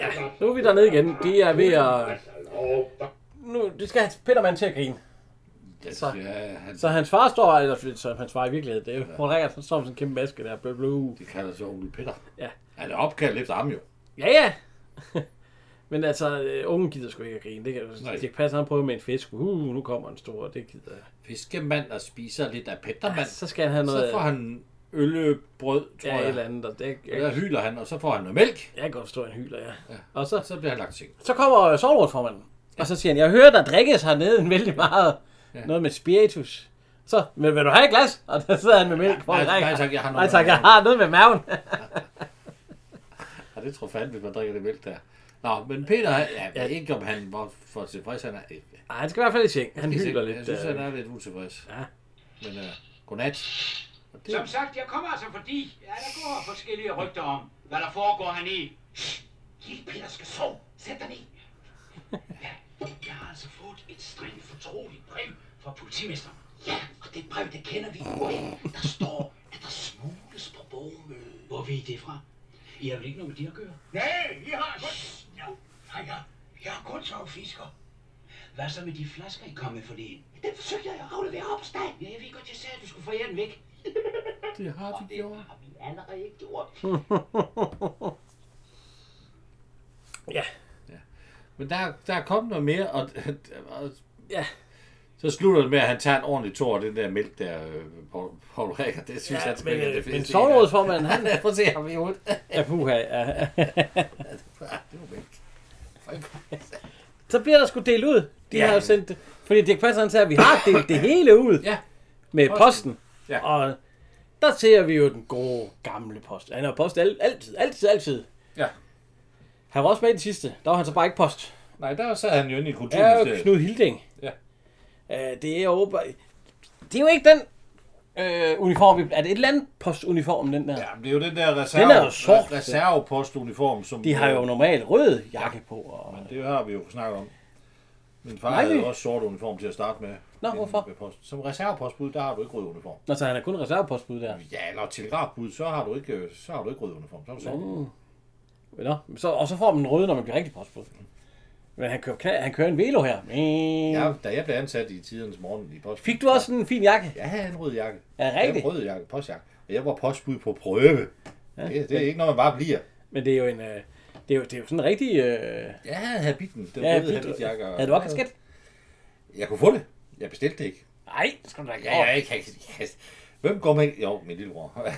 Ja, Nu er vi dernede igen. De er ved at... Nu, det skal Petermann til at grine. Så, så hans far står, eller så hans far i virkeligheden, det er jo Paul Rickard, så står med sådan en kæmpe maske der, blå, blå. Det kalder så onkel Peter. Ja. Ja, det er opkaldt efter ham jo. Ja, ja. [LAUGHS] Men altså, øh, ungen gider sgu ikke at grine. Det kan Nej. Dirk Passer, han prøver med en fisk. Uh, nu kommer en stor, det gider jeg. Fiskemand og spiser lidt af Pettermann. Ja, så skal han have noget- Så får han ølbrød, tror Ja, jeg. et eller andet. Og det, Og der hyler han, og så får han noget mælk. Jeg kan godt forstå, at han hyler, ja. ja. Og så, så bliver han lagt til seng. Så kommer sovrådsformanden, og så siger han, jeg hører, der drikkes hernede en vældig meget. Ja. Noget med spiritus. Så, men vil du have et glas? [LAUGHS] Og der sidder han med mælk. Poul nej, nej, Reichhardt. tak, jeg har noget nej, tak, med jeg maven. har noget med maven. [LAUGHS] Ja, det tror jeg fandme, hvis man drikker det mælk der. Nå, men Peter, han- ja, jeg ved ikke, om han var for tilfreds. Han er, Nej, han skal i hvert fald i seng. Han Jeg hyler synes, lidt. Jeg synes, øh, han er lidt utilfreds. Ja. Men uh, godnat. Og Som sagt, jeg kommer altså fordi, ja, der går forskellige rygter om, hvad der foregår hernede. Lille Peter skal sove. Sæt dig ned. Ja, jeg har altså fået et strengt fortroligt brev fra politimesteren. Ja, og det brev, det kender vi jo ikke. Der står, at der smugles på borgmødet. Hvor ved I det fra? I har vel ikke noget med det at gøre? Nej, vi har kun... Ja, nej, jeg, jeg er kun som fisker. Hvad så med de flasker, I kom med forleden? Den forsøgte jeg at aflevere op hos dig. Ja, jeg ved godt, jeg sagde, at du skulle få den væk. Det har vi gjort. Det har vi allerede gjort. [LAUGHS] ja. Men der, der er kommet noget mere, og, og Ja. så slutter det med, at han tager en ordentlig tår af den der mælk der, øh, Paul, Paul Rækker. Det synes Ja, jeg, men, men, øh, det men fedeste. sovrådsformanden, han... [LAUGHS] [LAUGHS] Prøv at se ham i hovedet. Ja, puha, ja. [LAUGHS] det var mælk. så bliver der sgu delt ud. De ja. har jo sendt det. Fordi Dirk Passer, han sagde, at vi har delt det hele ud ja. med Posten. posten. Ja. Og der ser vi jo den gode, gamle post. Han har post al- altid, altid, altid. Ja. Han var også med i den sidste. Der var han så bare ikke post. Nej, der sad han jo inde i Ja, kulturministeriet. jo, Knud Hilding. Ja. Øh, det er jo åbenbart- Det er jo ikke den øh, uniform, vi... Er det et eller andet postuniform, den der? Ja, Det er jo den der reserve, Den er jo sort. reservepostuniform, som... De har jo normalt rød jakke på. Og... Men det har vi jo snakket om. Min far Nej, Nej, havde vi- også sort uniform til at starte med. Nå, Inden hvorfor? ved posten. Som reservepostbud, der har du ikke rød uniform. Nå, så han er kun reservepostbud der. Ja, eller telegrafbud, så har du ikke, øh, så har du ikke rød uniform. Så er du sort. Mm. Nå, så, og så får man den røde, når man bliver rigtig postbud. Men han kører, knald, han kører en velo her. Mm. Ja, da jeg blev ansat i tidernes morgen i posten. Fik du også sådan en fin jakke? Ja, jeg havde en rød Er jakke. det Jeg havde rigtigt? En rød jakke, postjakke. Og jeg var postbud på prøve. Ja, det, det, er ikke noget, man bare bliver. Men det er jo en... Øh, det, er jo, det er jo sådan en rigtig... Øh... Ja, habitten. Den Ja, ja, røde habit. habitjakke. og- Havde du også kasket? Jeg kunne få det. Jeg bestilte det ikke. Nej, det skal du da ikke. Ja, jeg ikke. jeg- jeg- Hvem går med... Jo, min lillebror. [LAUGHS]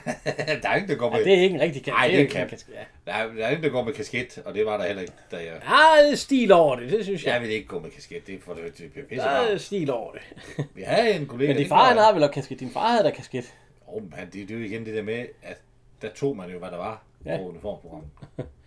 der er ingen, der går med... Ja, det er ikke en rigtig kasket. Nej, det er jo en ikke en kasket. kasket. Ja. Der er, der er ingen, der går med kasket, og det var der heller ikke, da jeg... Der er stil over det, det synes jeg. Jeg vil ikke gå med kasket, det er for det bliver pisse Der er meget. stil over det. Vi havde en kollega... Men din det far, gjorde han har vel også kasket. Din far havde da kasket. Åh, oh, det, det er jo igen det der med, at der tog man jo, hvad der var Ja. ja. på uniformprogrammet.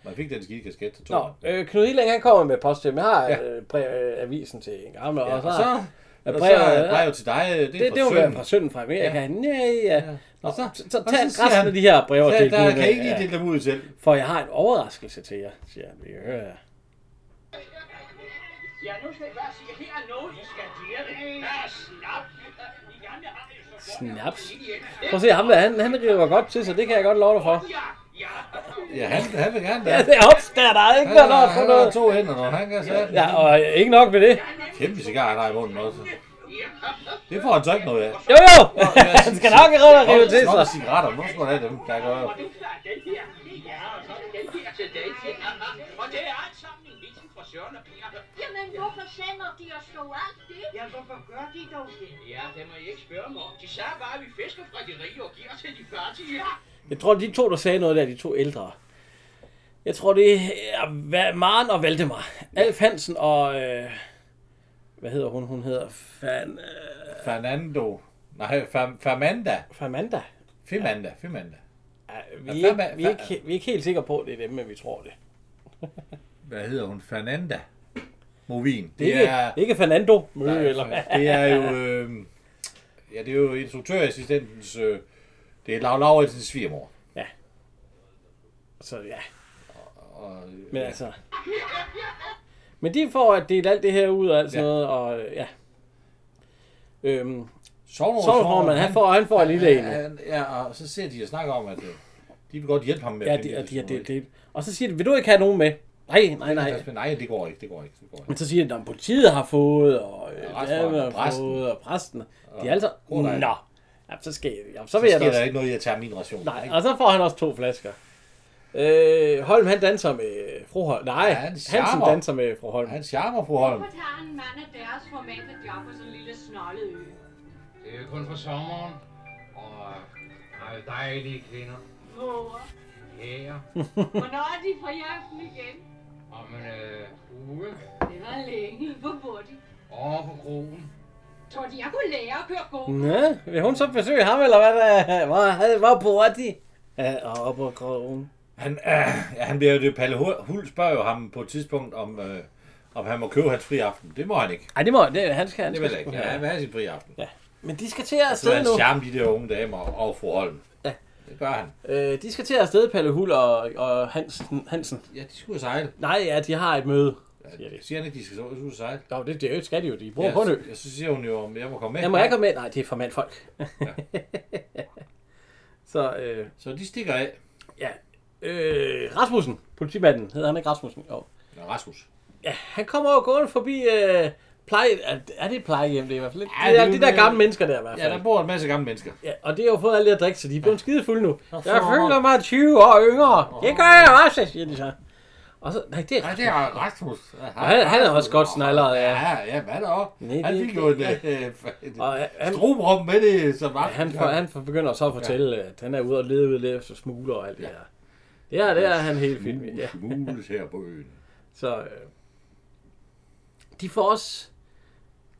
Man fik den skide kasket, så tog Nå, man. øh, Knud Hilling, han kommer med post til mig. Jeg har Ja. øh, brev, øh, avisen til en gammel, Ja, og så... og så- Ja, og så brev- er brev til dig, øh, det er det, fra det, var Sønnen. fra sønnen fra Amerika. Ja. Nej, ja. ja. Og så, så, så og tag så siger resten han, af de her brev og "Ja, del der dem ud kan med- I lige dele dem ud selv. For jeg har en overraskelse til jer, siger han. Vi kan høre jer. Ja, nu skal jeg bare sige, at her er noget, I skal dele. Ja, slap. Ja, Snaps. Prøv at se, ham der, han, han river godt til sig, det kan jeg godt love dig for. Ja, han, han vil gerne Ja, det er opskært, der er ikke Han noget lort har, for han har noget. to hænder, når han kan sætte Ja, og øh, ikke nok med det. Kæmpe cigar, han har i munden også. Det får han så ikke noget af. Jo, jo! [LAUGHS] Han skal nok rive og rive til Nå, sig. cigaretter, nu skal han have dem, kan jeg gøre. Og det er alt sammen en visen fra Søren og Pia. Jamen, hvorfor sender de os dog alt det? Ja, hvorfor gør de dog det? Ja, det må I ikke spørge mig om. De sagde bare, at vi fisker fra de rige og giver til de fattige. Jeg tror, de to, der sagde noget der, de to ældre. Jeg tror, det er Va- Maren og Valdemar. Alf Hansen og... Øh, hvad hedder hun? Hun hedder Fan... Øh, Fernando. Nej, Fam- Famanda. Famanda. Femanda, Femanda. vi, er ikke, vi, er ikke, vi er ikke helt sikre på, at det er dem, men vi tror det. Hvad hedder hun? Fernanda Movin. Det er ikke, ikke Fernando Mø, Nej, eller for- Det er jo... Øh, ja, det er jo instruktørassistentens... Øh, det er Lav Lauritsens svigermor. Ja. [LAUGHS] Så ja. Og, øh, og, Men altså... Men de får at dele alt det her ud og alt sådan Ja. noget, og øh, ja. Øhm, Sovner- Sovneformand, han får, han får en lille en. nu. Han- Ja, og så ser de og snakker om, at øh, de vil godt hjælpe ham med Ja, at de, finde og de, det, de, de, de, og så siger de, vil du ikke have nogen med? Nej, nej, nej. Men nej, det går ikke, det går ikke. Det går ikke. Men så siger de, at politiet har fået, og øh, Og resten- damer har og præsten. fået, og præsten. De er altså, Åh, nej. nå. Ja, så skal, ja, så, Så, vil jeg sker da der også. ikke noget i at tage min ration. Nej, og så får han også to flasker. Øh, Holm, han danser med fru Holm. Nej, Ja, ja, han Hansen charmer. danser med fru Holm. Han charmer fru Holm. Hvorfor tager en mand af deres formelle job på sådan en lille snollet ø? Det er jo kun for sommeren. Og der er jo dejlige kvinder. Hvor? Jæger. Hvornår er de fri aften igen? Om en øh, uge. Det var længe. Hvor bor de? Over på krogen. Tror de, jeg kunne lære at køre god? Nå, vil hun så besøge ham, eller hvad der var, var på Rati? Ja, og op på krogen. Han, øh, ja, han bliver jo det. Palle Hul- Hul spørger jo ham på et tidspunkt, om, øh, om han må købe hans fri aften. Det må han ikke. Ej, det må det, han skal, han Det skal vil han ikke. sgu Ja, have. han vil have sin fri aften. Ja. Men de skal til at Så er afsted han nu. charme de der unge damer og fru Holm. Ja. Det gør han. Øh, de skal til at afsted, Palle Hul og, og Hansen, Hansen. Ja, de skulle sejle. Nej, ja, de har et møde. Siger de. Siger han ikke, de skal så ud og sejle? Jo, det, det skal de jo. De bor Ja, på en ø. så- så siger hun jo, om jeg må komme med. Ja, må jeg komme med? Nej, det er for mandfolk. [LAUGHS] så, øh, Så de stikker af. ja. Øh, Rasmussen, politimanden, hedder han ikke Rasmussen? Jo. Ja, Rasmus. Ja, han kommer over gående forbi øh, pleje... Er, er det et plejehjem? Det er i hvert fald lidt. Ja, Ja, det det er, er jo de der mere- gamle mennesker der i hvert Ja, fald. der bor en masse gamle mennesker. Ja, og det har jo fået alle det at drikke, så de er blevet skide fulde nu. Jeg for føler mig 20 år yngre. Det gør jeg også, siger de så. Og så, nej, det er Nej, Rasmus. det er Rasmus. Og han, han er også godt snalleret, ja. Ja, ja, hvad der også? Nej, Han det- fik jo en, øh, [LAUGHS] en Og øh, han, strobrum med det, som var. han, for, han for begynder så at fortælle, at han er ude og lede ud efter smugler og alt det her. Det her, det er han helt fint med. Ja. Mules her på øen. Så øh, de får også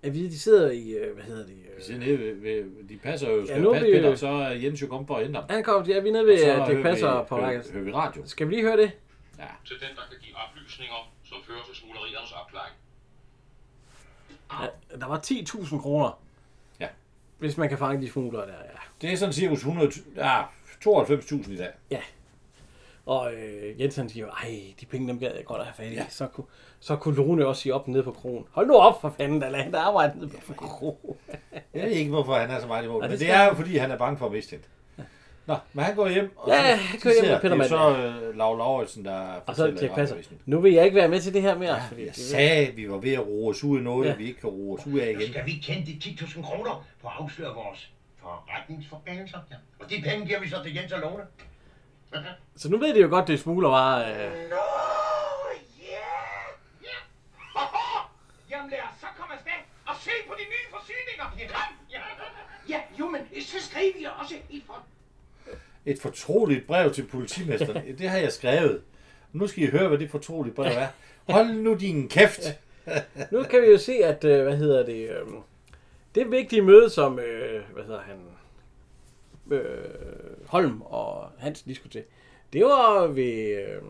at vide, de sidder i, øh, hvad hedder det? Vi Øh, sidder nede ved, ved, de passer jo, skal nu ja, er passe vi- Peter, og så er Jens jo kommet for at hente ham. han kommer, ja, vi er nede ved, at det passer på hører, rækket. hører vi radio. Skal vi lige høre det? Til den, der kan give oplysninger, som fører til smugleriernes opklaring. Ja, der var 10.000 kroner. Ja. Hvis man kan fange de smugler der, ja. Det er sådan cirka 100, ja, 92.000 i dag. Og øh, Jensen siger, ej, de penge, dem gad jeg godt at have fat i. Ja. Så, kunne, så kunne Lone også sige op nede på kronen. Hold nu op for fanden, der lader der arbejde nede på kronen. Jeg ved ikke, hvorfor han er så meget imod, Nej, men det det skal er jo, fordi han er bange for at miste hende. Nå, men han går hjem, og Ja, så, han så kører hjem ser- med Peter det er Madsen. så øh, Lav Lauritsen, der Og så i Dirk Passer, radioavisen. nu vil jeg ikke være med til det her mere. Ja, fordi Jeg det, sagde, at vi var ved at roe os ud i noget, Ja. vi ikke kan roe os ud af Nu igen. skal vi kende de 10.000 kroner for at afsløre vores forretningsforbindelser. Ja. Og de penge giver vi så til Jens og Lone. så nu ved de jo godt, det er smuglervarer. Øh. Nå, ja! Ja! Jamen lad os så komme afsted og se på de nye forsyninger. Kom! Ja, ja jo, men så skrev vi også i for... Et fortroligt brev til [LAUGHS] politimesteren. Det har jeg skrevet. Nu skal I høre, hvad det fortrolige brev er. Hold nu din kæft! Nu kan vi jo se, at, øh, hvad hedder det, øh, det vigtige møde, som, øh, hvad hedder han, øh, Holm og Hans, de skulle til, det var ved, øh,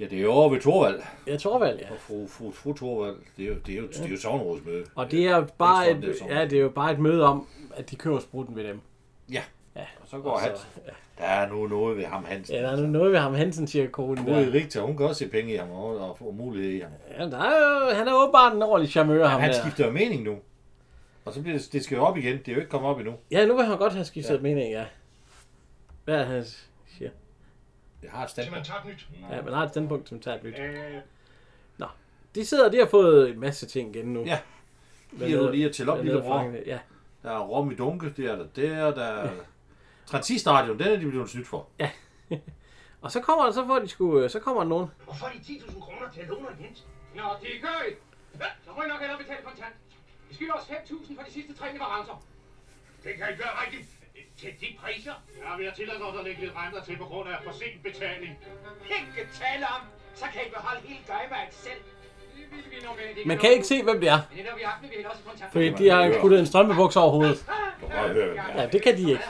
Ja, det er jo over ved Torvald. ja, Torvald, ja. Og fru, fru, fru Torvald, det er jo, det er jo, det er jo sovnrådsmøde. Og det er jo bare Ikke sådan, det et, er ja, det er jo bare et møde om, at de køber spruten ved dem. Ja. Ja. Og så går Hansen. Der er nu noget ved ham, Hansen. Ja, der er nu noget ved ham Hansen, siger konen Ude i der. Rigta, hun kan også se penge i ham og, og, og mulighed i ham. Ja, der er jo, han er åbenbart en ordentlig charmør, ham Han der. skifter jo mening nu. Og så bliver det, det skal jo op igen. Det er jo ikke kommet op endnu. Ja, nu vil han godt have skiftet ja. mening, ja. Hvad er hans... Ja. Jeg har et standpunkt. tager et nyt. Ja, man har et standpunkt, som tager et nyt. Øh, Nå. De sidder, de har fået en masse ting igen nu. Ja. Hvad Lige er du hedder- lige at tælle op, hvad lille hedder bror. fangene? Ja. Der er rom i dunke, det er der der, der er... Transistorradioen, den er de blevet snydt for. Ja. Og så kommer der, så får de sgu, øh, så kommer der nogen. Og får de 10.000 kroner til at låne og Jens? Nå, det gør I. Ja, Så må I nok hellere betale kontant. Vi skylder os 5.000 for de sidste tre leverancer. Det kan I gøre rigtigt. Til de priser? Ja, vi har tilladt os at lægge lidt renter til på grund af for sent betaling. Ikke tale om. Så kan I beholde hele gøjmærket selv. Det vil vi normalt Man kan ikke se, hvem det er. Men det der vi har haft, vi hælder også i kontant. Fordi de har puttet en strømpebuks over hovedet. Ja, det kan de ikke.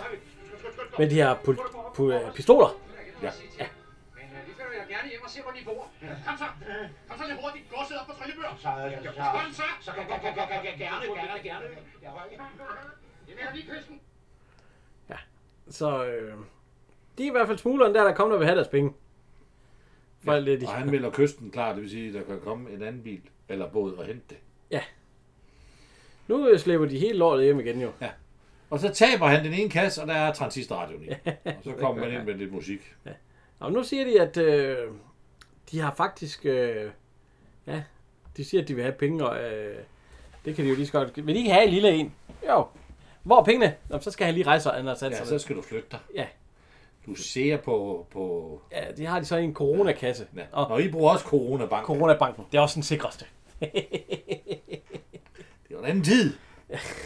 Men de har pul- pul- pistoler. Ja. Vi følger jer gerne hjem og se, hvor de bor. Kom så. Kom så lidt hurtigt. Gå og sidde op på trillebør. Så, så, så. Kom så. Så kan jeg gerne, gerne, gerne. Jamen, jeg er lige kysten. Så øh, de er i hvert fald smugleren der, der kommer og vil have deres penge. For alt det, de... Og han melder kysten klar, det vil sige, at der kan komme en anden bil eller båd og hente det. Nu øh, slæber de hele lortet hjem igen jo. Ja. Og så taber han den ene kasse, og der er [LAUGHS] transistorradioen i. Og så kommer man ind med lidt musik. Og nu siger de, at øh, de har faktisk... Øh, ja, de siger, at de vil have penge, og øh, det kan de jo lige så godt... Vil de ikke have en lille en? Jo. Hvor er pengene? Nå, så skal han lige rejse sig, Altså, Anders Hansen. Ja, så skal du flytte dig. Ja. Du ser på... på Ja, de har de så i en coronakasse. ja. Og- Og I bruger også coronabank. Coronabanken, det er også den sikreste. Det er jo en anden tid.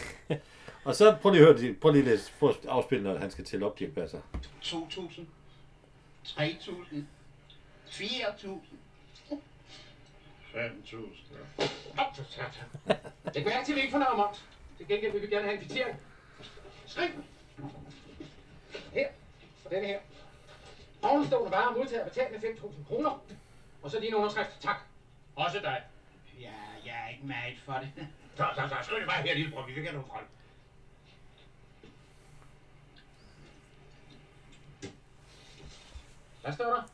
[LAUGHS] og så prøv lige at høre, det- prøv lige at læse- prøv at afspille, når han skal tælle op, Dirk Passer. 2.000. 3.000. 4.000. 5.000. Op til satan. Det kan jeg til, vi ikke får noget moms. Til gengæld vil vi gerne have en kvittering. Skriv. Her. Og denne her. Ovenstående varer modtager betalt med 5.000 kroner. Og så din underskrift. Tak. Også dig. Ja, jeg er ikke meget for det. Så, så, så. Skriv det bare her, lillebror. Vi vil gerne have noget Hvad står der?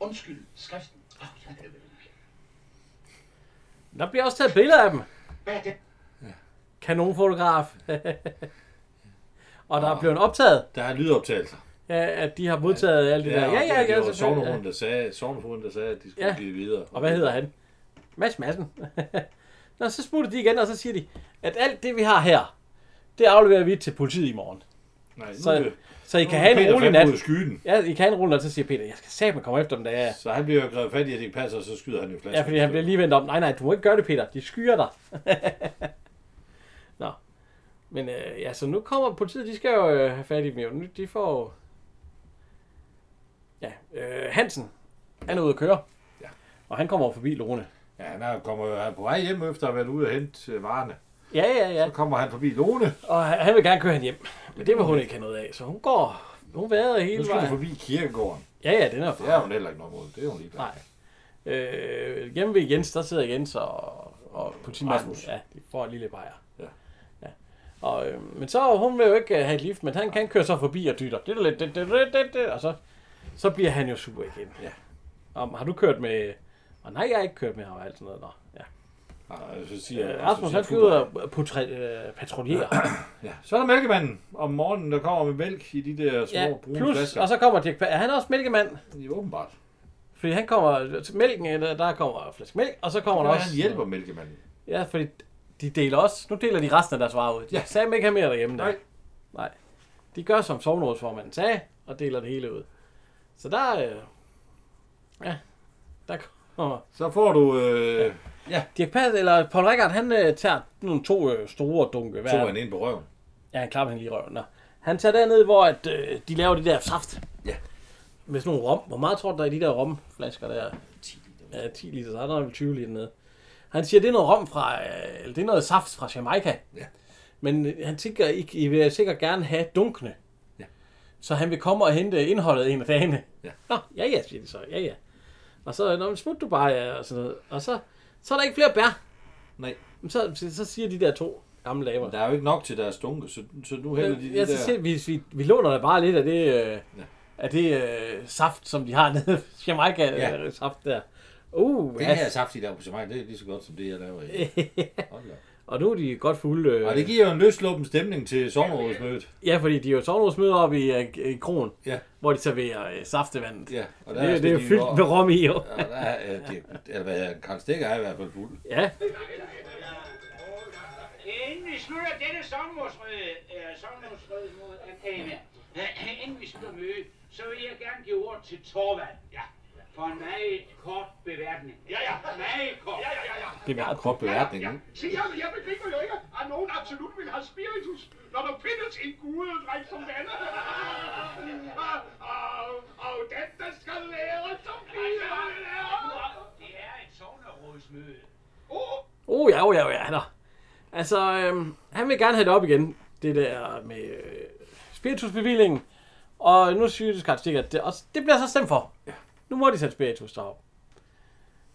Undskyld, skriften. Åh, for helvede. Der bliver også taget billeder af dem. Hvad er det? Kanonfotograf. [LAUGHS] og der er blevet optaget, Der er lydoptagelser. ja, at de har modtaget alt det der. og Ja, ja, det, ja. det var selvfølgelig, sognehunden, der sagde, sognehunden, der sagde, at de skulle Ja. ja. give videre. Og hvad hedder han? Mads Madsen. [LAUGHS] Nå, så smutter de igen, og så siger de, at alt det, vi har her, det afleverer vi til politiet i morgen. Nej, nu, er Så, det- så I nu kan er have Peter en rolig fandme nat. ude i skyen. Ja, I kan have en rolig nat, så siger Peter, jeg skal satme komme efter dem, da jeg er. Så han bliver jo grevet fat i, at det ikke passer, og så skyder han jo flasken. Ja, fordi han bliver lige vendt om. Nej, nej, du må ikke gøre det, Peter. De skyer dig. [LAUGHS] Nå. Men øh, ja, så nu kommer politiet. De skal jo øh, have fat i dem jo. Nu- De får jo... Ja, øh, Hansen. Han er ude at køre. Ja. Og han kommer forbi Lone. Ja, han er, kommer jo- han er på vej hjem efter at have været ude og hente øh, varerne. Ja, ja, ja. Så kommer han forbi Lone. Og han han vil gerne køre hende hjem. Men det vil hun ikke have noget af. Så hun går... Hun vader Nu hele skal du vejen. forbi kirkegården. Ja, ja, den er Det er hun heller ikke noget mod. Det er hun lige Nej. Øh, hjemme ved Jens, der sidder Jens og, og politimanden. Rasmus. Ja, de får en lille bajer. Ja. ja. Og, øh, men så, hun vil jo ikke øh, have et lift, men han kan køre så forbi og dytter. Det er lidt, det, det, det, det, det, og så, så bliver han jo super igen. Ja. Om, har du kørt med... Og nej, jeg har ikke kørt med ham og alt sådan noget. Nå, ja. Nej, altså, så siger Øh, jeg, Rasmus, han skal ud og putre, øh, [CLEARS THROAT] patruljere. Ja. Så er der mælkemanden om morgenen, der kommer med mælk i de der små ja, brune plus, flasker. og så kommer Dirk Pa- Er han også mælkemand? Ja, åbenbart. Fordi han kommer til mælken, eller der kommer en flaske mælk, og så kommer Og der der også... han hjælper mælkemanden. Ja, fordi de deler også. Nu deler de resten af deres varer ud. De ja. Ja. sagde dem ikke have mere derhjemme. Der. Nej. Nej. De gør, som sovnrådsformanden sagde, og deler det hele ud. Så der... Øh, ja, der kommer... Så får du øh, Dirk Pass, eller Paul Rikard, han øh, tager nogle to øh, store dunke. Hvad to er det? han ind på røven. Ja, han klapper hende lige i røven. Nå. Han tager derned, hvor at, øh, de laver det der saft. Ja. Med sådan nogle rom. Hvor meget tror du, der er i de der romflasker der? 10 liter. Ja, 10 liter. Så er der vel 20 liter nede. Han siger, det er noget rom fra, øh, eller det er noget saft fra Jamaica. Ja. Men øh, han tænker, I, I vil sikkert gerne have dunkene. Ja. Så han vil komme og hente indholdet en af dagene. Ja. Nå, ja, ja, siger de så. Ja, ja. Og så, når smut du bare, ja, og sådan noget. Og så, så er der ikke flere bær. Nej. Men Så, så, så siger de der to gamle damer. Der er jo ikke nok til deres dunke, så, så nu hælder de de Ja, der... så siger, vi, vi, vi låner da bare lidt af det, øh, Ja. af det øh, saft, som de har nede Jamaica Ja. ja. saft der. Uh, Det ja. her saft, de laver på Jamaica, det er lige så godt som det, jeg laver i. Hold da. Og nu er de godt fulde. Øh, Og det giver jo en løsluppen stemning til sommerrådsmødet. Ja, fordi de er jo sovnårsmøder oppe i, øh, i Kron, ja. hvor de serverer øh, saftevandet. Ja, og det, er, det er fyldt med rom i. Jo. Ja, der er, øh, det, eller hvad hedder det, Karl Stikker er i hvert fald fuld. Ja. Inden vi slutter denne sommersrøde, øh, sommersrøde mod Atene, øh, [CLEARS THROAT] inden vi slutter mødet, så vil jeg gerne give ord til Torvald. Ja. For en meget kort beværtning. Ja, ja. Meget kort. Ja, ja, ja. ja. Det er en kort beværtning. ikke? Se, jeg, jeg begriber jo ikke, at nogen absolut vil have spiritus, når der findes en gudedræk som denne. og, og, og den, der skal være som bliver lærer. Det er et sovnerådsmøde. Oh ja, oh ja, oh ja, han er. Altså, øhm, han vil gerne have det op igen, det der med øh, spiritusbevillingen. Og nu synes Karl Stikker, at det, og det bliver så stemt for. Nu må de sætte spiritus derop.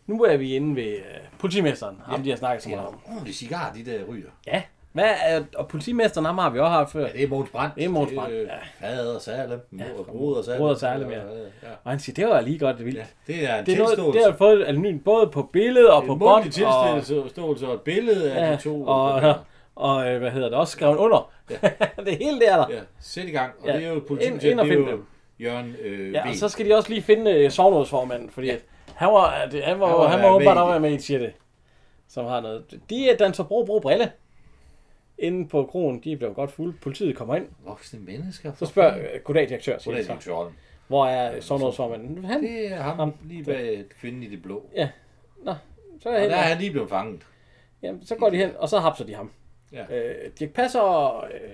Nu er vi inde ved øh, politimesteren, ham de har snakket så Det er meget en om. ordentlig cigar, de der ryger. Ja, hvad er, og politimesteren, ham har vi også haft før. Ja, det er Måns Brandt. Det er Måns Det er, Brandt, øh, ja. Fader og Salem, og Broder og Salem. Broder Salem, ja. ja. Og han siger, det var lige godt vildt. Ja, Det er en det er noget, tilståelse. det har fået anonym både på billede og på en bånd. mundtlig og- tilståelse og et billede af de to. Og, og, og, øh, hvad hedder det, også skrevet under. Ja. [LAUGHS] det hele der er der. Ja, sæt i gang. Og Ja. det er jo Ind- politiet, ind og det er finde jo dem. Jørgen øh, Ja, og V. så skal de også lige finde øh, sovnrådsformanden, fordi ja. han var, at det- han var, han var, han var åbenbart med i også det. med i et sjette, som har noget. De er danser bro, bro, brille. Inde på kronen, de blev godt fulde. Politiet kommer ind. Voksne mennesker. Så spørger øh, goddag direktør, siger Goddag, de så. direktøren. Hvor er sovnrådsformanden? Han, Det er ham, lige bag kvinden i det blå. Ja. Nå, så er Og jeg der er helt han lige blevet fanget. Jamen, så går de hen, og så hapser de ham. Ja. Øh, Dirk Passer og, øh,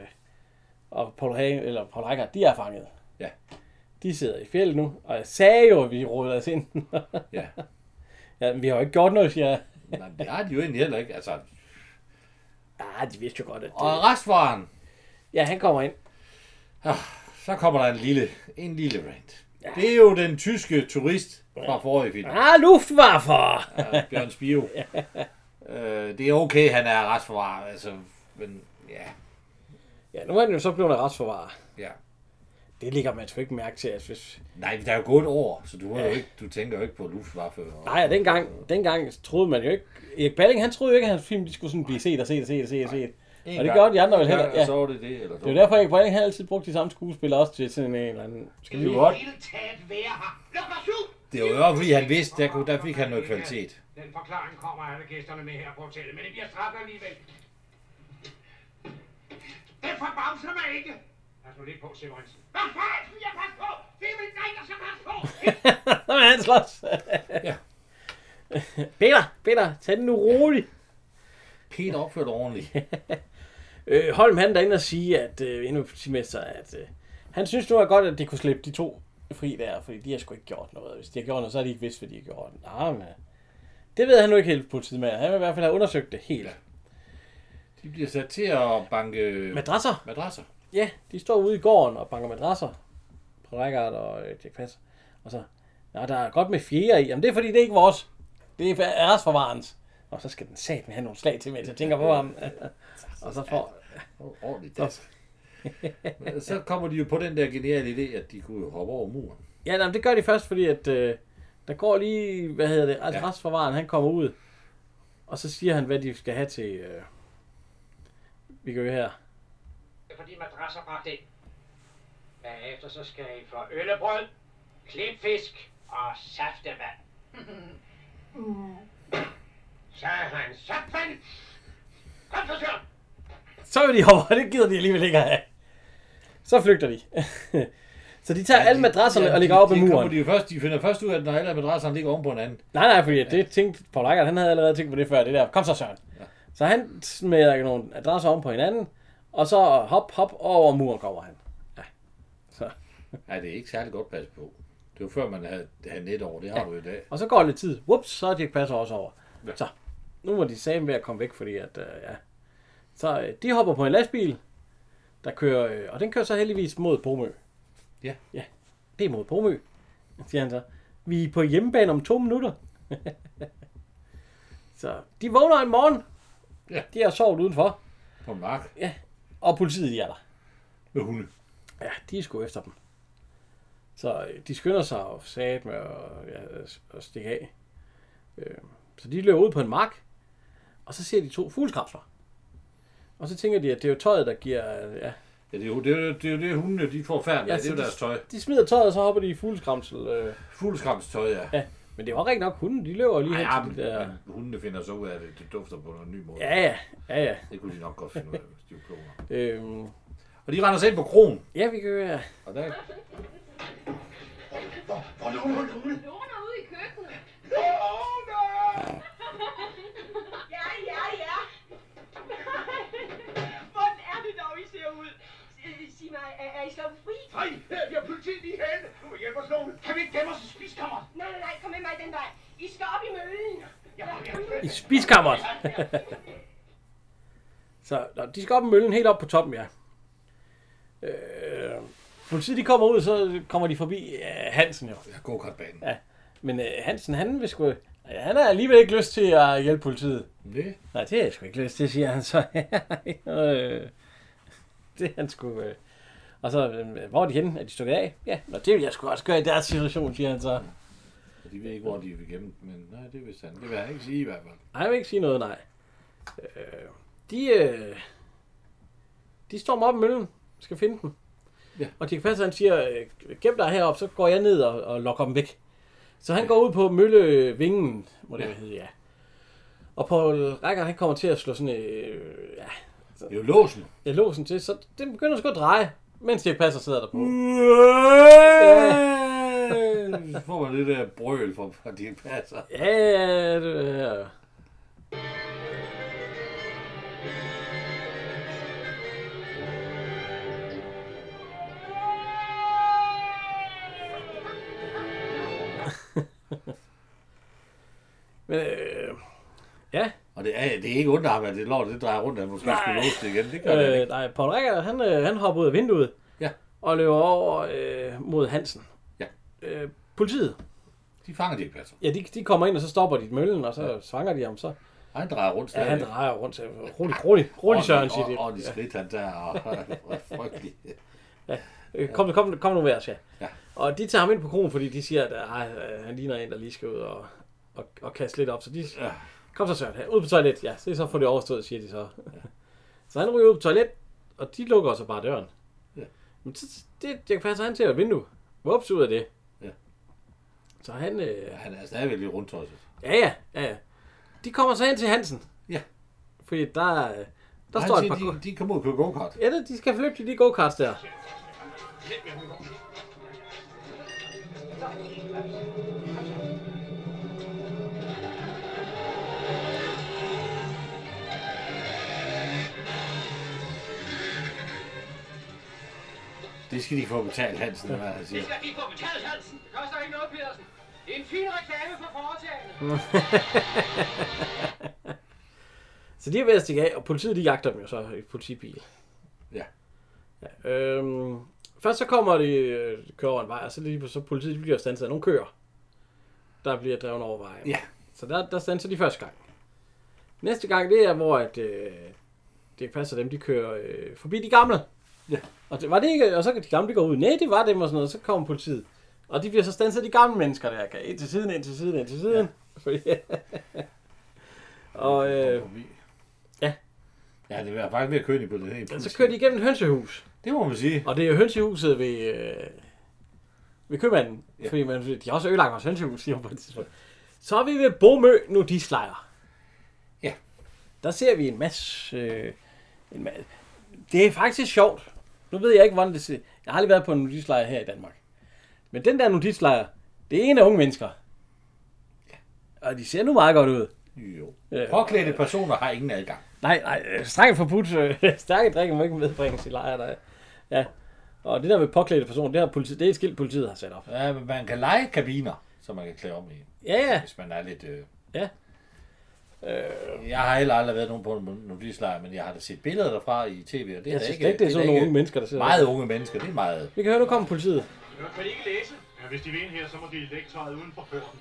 og Paul, Hagen, eller Paul Hager, de er fanget. Ja. De sidder i fjellet nu, og jeg sagde jo, at vi råder os ind. [LAUGHS] Ja. ja, men vi har jo ikke gjort noget, siger jeg. Nej, det har de jo egentlig heller ikke. Altså, Ah, de vidste jo godt, at det... og restvaren, Ja, han kommer ind. så kommer der en lille, en lille rant. Det er jo den tyske turist fra forrige film. Ah, Luftwaffe! Ja, [LAUGHS] Bjørn Spiro. øh, det er okay, han er retsforvarer, altså, men ja, Ja, nu er han jo så blevet retsforvarer. ja. Det ligger man sgu ikke mærke til. Altså, hvis... Nej, der er jo gået et år, så du, har jo Ja. ikke, du tænker jo ikke på Luftwaffe. Og... Nej, og dengang, dengang troede man jo ikke... Erik Balling, han troede jo ikke, at hans film de skulle sådan blive set og set og set og set og set. En Og det gang. gjorde de andre vel En heller. gang, Ja. Så var det det, eller Det er jo derfor, Erik Balling han altid brugte de samme skuespillere også til sådan en eller anden... Skal vi godt? Hele taget være her. Luk os ud! Det er jo også, fordi han vidste, der, kunne, der fik han noget kvalitet. Den forklaring kommer alle gæsterne med her på hotellet, men det bliver straffet alligevel. Den forbavser mig ikke. Pas nu lidt på, Severinsen. Hvad fanden skulle jeg passe på? Det er min dreng, der skal passe på. [LAUGHS] Nå, men han slås. Ja. [LAUGHS] Peter, Peter, tag den nu roligt. Peter opførte ordentligt. Øh, Holm han er derinde og sige, at øh, endnu politimester, at øh, han synes nu er godt, at de kunne slippe de to fri der, fordi de har sgu ikke gjort noget. Hvis de har gjort noget, så har de ikke vidst, hvad de har gjort. Nej, men øh, det ved han nu ikke helt politiet med. Han vil i hvert fald have undersøgt det helt. De bliver sat til at banke Madrasser? madrasser. Ja, de står ude i gården og banker madrasser. På Rækkert og øh, Dirk Passer. Og så, nej, der er godt med fjerde i. Jamen det er fordi, det er ikke vores. Det er æresforvarens. Og så skal den sat med have nogle slag til, mens jeg tænker på ham. [LAUGHS] og så får... Ordentligt. Altså. så kommer de jo på den der geniale idé, at de kunne jo hoppe over muren. Ja, nej, men det gør de først, fordi at øh, der går lige, hvad hedder det, altså ja. Ja. restforvaren, han kommer ud, og så siger han, hvad de skal have til, øh, vi gør her. fordi madrasser bragt ind. Bagefter så skal I få øllebrød, klipfisk og [LAUGHS] saftevand. Så er han så fandt. Kom så, Søren. Så vil de hoppe, og [LAUGHS] det gider de alligevel ikke at have. Så flygter de. [LAUGHS] så de tager ja, alle madrasserne ja, og lægger op de, ad de kommer muren. De, jo først, de finder først ud af, at når alle af madrasserne ligger oven på hinanden. Nej, nej, fordi ja. det tænkte Paul Eikert, han havde allerede tænkt på det før, det der, kom så Søren. Ja. Så han smider nogle adresser om på hinanden, og så hop, hop, over muren kommer han. Ja. Så. Ja, det er ikke særlig godt passet på. Det var før, man havde, havde net over. Det har du i dag. Og så går lidt tid. Whoops, så er Dirk Passer også over. Ja. Så, nu må de sammen ved at komme væk, fordi at, øh, ja. Så øh, de hopper på en lastbil, der kører, øh, og den kører så heldigvis mod Pomø. Ja. Ja, det er mod Pomø, siger han så. Vi er på hjemmebane om to minutter. [LAUGHS] så de vågner en morgen. Ja. De har sovet udenfor, På en mark. Ja. og politiet de er der. Med hunde. Ja, de er sgu efter dem. Så øh, de skynder sig og sat med at, ja, at- at stikke af. Øh, så de løber ud på en mark, og så ser de to fugleskræfter. Og så tænker de, at det er jo tøjet, der giver... øh, Ja, Ja, det er jo det, er, jo- det, er jo det hundene, de får færd med. Ja, det så er jo de- deres tøj. De smider tøjet, og så hopper de i fugleskramsel. Øh. Fugleskramstøj, ja. ja. Men det er jo rigtig nok hunden, de løber lige Ej, hen ja, til men, de der... men hundene finder så ud af det. Det dufter på en ny måde. Ja, ja. Ja, ja. Det kunne de nok godt finde ud af, hvis de var klogere. Øhm. Og de render sig ind på krogen. Ja, vi gør ja. Og der... Hvor låner Lone? Lone ude i køkkenet. Lone! Ja, ja, [LAUGHS] ja. Hvordan er det dog, I ser ud? Øh, Sig mig, er, er I sluppet fri? Nej, vi har politiet lige hen. Du må hjælpe os, Lone. Kan vi ikke gemme os i spiskammeret? Nej, nej, nej, kom med mig den vej. I skal op i møllen. Ja, I spiskammeret. [LAUGHS] så nå, de skal op i møllen helt op på toppen, ja. Øh, politiet de kommer ud, så kommer de forbi øh, Hansen jo. Ja, go-kartbanen. Ja. Men øh, Hansen, han vil sgu... ja, Han har alligevel ikke lyst til at hjælpe politiet. Det? Nej, det har jeg sgu ikke lyst til, siger han så. [LAUGHS] øh, det er han sgu... Øh. Og så, øh, hvor er de henne? Er de stukket af? Ja, Nå, det vil jeg sgu også gøre i deres situation, siger han så. Og de ved ikke, hvor de vil gemme den, men nej, det vil han. Det vil han ikke sige i hvert fald. Nej, jeg vil ikke sige noget, nej. Øh, de, øh, de stormer op i møllen, skal finde den. Ja. Og Dirk Passer, han siger, øh, gem dig heroppe, så går jeg ned og, og lokker dem væk. Så han går ud på møllevingen, må det ja. hedde, ja. Og Paul Rækker, han kommer til at slå sådan, øh, ja, Det er jo låsen. ja, låsen til, så den begynder sgu at dreje, mens Dirk Passer sidder der Mm. på. Så får man det der brøl fra, fra de passer. Ja, ja, ja, ja. [LAUGHS] Men, øh, ja. Og det er, det er ikke under ham, at det lort, det drejer rundt, at han måske skulle låse det igen. Det gør det Øh, ikke. nej, Paul Rikker, han, øh, han hopper ud af vinduet Ja. og løber over øh, mod Hansen. Ja. Øh, politiet. De fanger de passer. Ja, de, de kommer ind, og så stopper de møllen, og så ja. svanger de ham så. Og han drejer rundt Ja, stadig. han drejer rundt. Så rolig, rolig, rolig, Søren, siger de. Og, og de skridt, han der, og, [LAUGHS] og frygtelig. Ja. Øh, Kom, kom, kom nu med os, ja. Ja. Og de tager ham ind på krogen, fordi de siger, at ej, øh, han ligner en, der lige skal ud og, og, og kaste lidt op. Så de, Ja. kom så Søren, her, ud på toilet. Ja, så, så får det overstået, siger de så. Ja. [LAUGHS] Så han ryger ud på toilet, og de lukker så bare døren. Ja. Men så, det, jeg kan passe, han til et vindue. Vups ud af det. Ja. Så han, øh, Han er stadigvæk lidt rundtosset. ja, ja, ja, ja. De kommer så hen til Hansen. Ja. Fordi der, øh, der Han står et siger, par... De... de, de kommer ud og køber go-kart. Ja, de skal flytte til de go-karts der. Det skal de få betalt, Hansen, hvad han Det siger. skal de få betalt, Hansen. Det koster ikke noget, Pedersen. Det er en fin reklame for foretagendet. så de er ved at stikke af, og politiet de jagter dem jo så i politibil. Ja. ja øhm, først så kommer de øh, kører over en vej, og så, lige, så politiet de bliver stanset af nogle køer, der bliver drevet over vejen. Ja. Så der, der stanser de første gang. Næste gang, det er, hvor at, øh, det passer dem, de kører øh, forbi de gamle. Ja. Og, det, var det ikke, og så kan de gamle de går ud. Nej, det var dem og sådan noget. Så kommer politiet. Og de bliver så stanset af de gamle mennesker der. Kan, ind til siden, ind til siden, ind til siden. Ja. [LAUGHS] Fordi, og øh, ja. Ja, det er faktisk mere kønig på det her. så kører de igennem et hønsehus. Det må man sige. Og det er jo hønsehuset ved, øh, ved købmanden. Ja. Fordi man, de har også ødelagt vores hønsehus, siger hun på et tidspunkt. Så er vi ved Bomø Nudistlejr. Ja. Der ser vi en masse... Øh, en masse. Det er faktisk sjovt. Nu ved jeg ikke, hvordan det ser... Jeg har aldrig været på en nudistlejr her i Danmark. Men den der nudistlejr, det er en af unge mennesker. Og de ser nu meget godt ud. Jo. Ja. Påklædte personer har ingen adgang. Nej, nej, øh, strengt forbudt. øh, [LAUGHS] Stærke drikke må ikke medbringes i lejre, der. er- Ja. Og det der med påklædte personer, det, har politi- det er et skilt, politiet har sat op. Ja, men man kan lege kabiner, som man kan klæde om i, Ja, ja. hvis man er lidt... Øh... Ja. Jeg har heller aldrig været nogen på en nudistlejr, men jeg har da set billeder derfra i tv, og det Jeg er synes da ikke... ikke, det er sådan nogle ikke unge mennesker, der sidder Meget der. unge mennesker, det er meget... Vi kan høre, nu kommer politiet. Kan de ikke læse? Ja, hvis de vil ind her, så må de lægge tøjet uden for porten.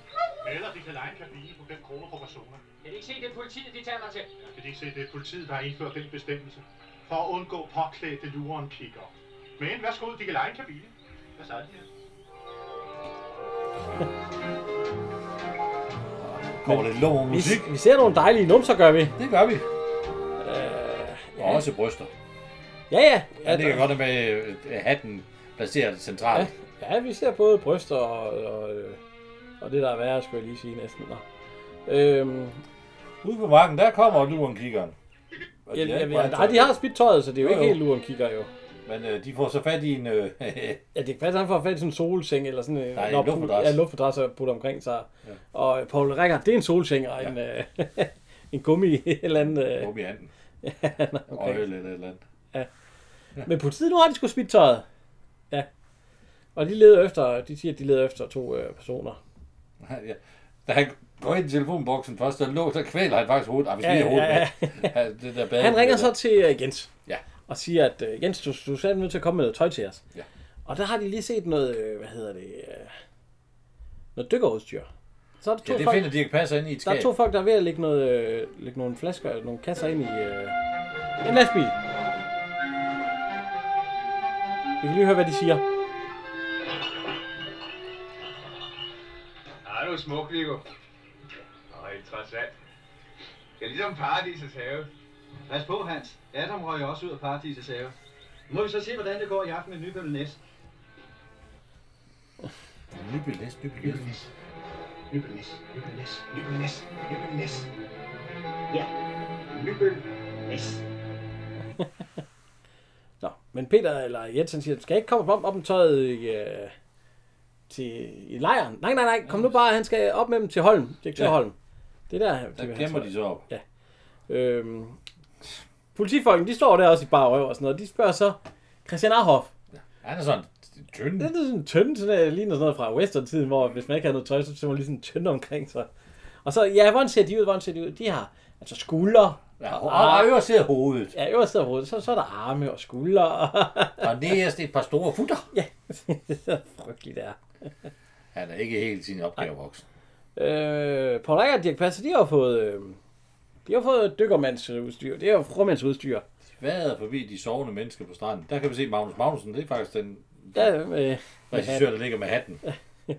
Eller de kan lege en kabine på 5 kroner på personer. Kan de ikke se, det er politiet, de tager mig til? Kan de ikke se, det er politiet, der har indført den bestemmelse? For at undgå påklædte luren kigger. Men værsgo, de kan lege en kabine. Hvad så er det her? Kommer lidt lov Vi, musik. vi ser nogle dejlige numser, gør vi. Det gør vi. Øh, Og også bryster. Ja, ja. ja det kan godt være med øh, hatten placeret centralt. Ja. Ja, vi ser både bryster og, og, øh, og det, der er værre, skulle jeg lige sige næsten. Nå. Øhm, Ude på marken, der kommer luren kiggeren. ja, ja, ja, nej, de har spidt tøjet, så det er jo, Jo, jo ikke jo. helt luren kigger jo. Men øh, de får så fat i en... Øh, [LAUGHS] Ja, det kan faktisk, han får fat i sådan en solseng eller sådan en, Nej, en nå, put- luftmadras. Ja, luftmadras og putter omkring sig. Ja. Og øh, Paul Rickard, det er en solseng og en, øh, [LAUGHS] en gummi eller anden... Øh, Gummi anden. [LAUGHS] ja, nå, og okay. øl eller et eller andet. Ja. Men politiet nu har de sgu spidt tøjet. Ja. Og de leder efter, de siger, at de leder efter to øh, personer. Ja. Da han går ind i telefonboksen først, der lå, så kvæler han faktisk hovedet. Ah, hvis Ja, ja, lige hovedet ja, ja, ja. det der bad, Han ringer så til øh, Jens. Ja. Og siger, at øh, Jens, du, du er simpelthen nødt til at komme med noget tøj til os. Ja. Og der har de lige set noget, øh, hvad hedder det, øh, noget dykkerudstyr. Så er der Ja, det finder de ikke passer ind i et Der er skab. to folk, der er ved at lægge, noget, øh, lægge nogle flasker, eller nogle kasser ind i øh, en lastbil. Vi kan lige høre, hvad de siger. Ej, du er smuk, Viggo. Og interessant. Det er ligesom paradisets have. Pas på, Hans. Adam røg også ud af paradisets have. Nu må vi så se, hvordan det går i aften med Nybøl Næs. Nybøl Næs, Nybøl Næs. Nybøl Næs, Nybøl Næs, Nybøl Næs, Nybøl Næs. Ja, Nybøl Næs. Nå, men Peter eller Jensen siger, skal jeg ikke komme op, op med tøjet i, øh, til, i lejren? Nej, nej, nej, kom nu bare, han skal op med dem til Holm, direktør Ja. ja. Holm. Det er der, de vil Der have gemmer tøjet. de så op. Ja. Øhm, politifolken, de står der også i bare røv og sådan noget. De spørger så Christian Arhoff. Han er sådan tynd. Det er sådan en tynd, sådan der, ligner sådan noget fra western-tiden, hvor hvis man ikke havde noget tøj, så så man lige sådan tynd omkring sig. Og så, ja, hvordan ser de ud, hvordan ser de ud? De har altså skuldre. Ja, og- og øverst sidder hovedet. Ja, øverst sidder hovedet. Så, så er der arme og skuldre. [LAUGHS] Og nederst et par store futter. Ja, [LAUGHS] det er frygteligt, det er. Han er ikke helt sin opgave voksen. Øh, Paul Eicher og Dirk Passer, de har jo fået, øh, de har fået dykkermandsudstyr. Det er jo frømandsudstyr. Vader forbi de sovende mennesker på stranden. Der kan vi se Magnus Magnussen. Det er faktisk den Ja, øh, med regissør, hatten. der ligger med hatten. Så er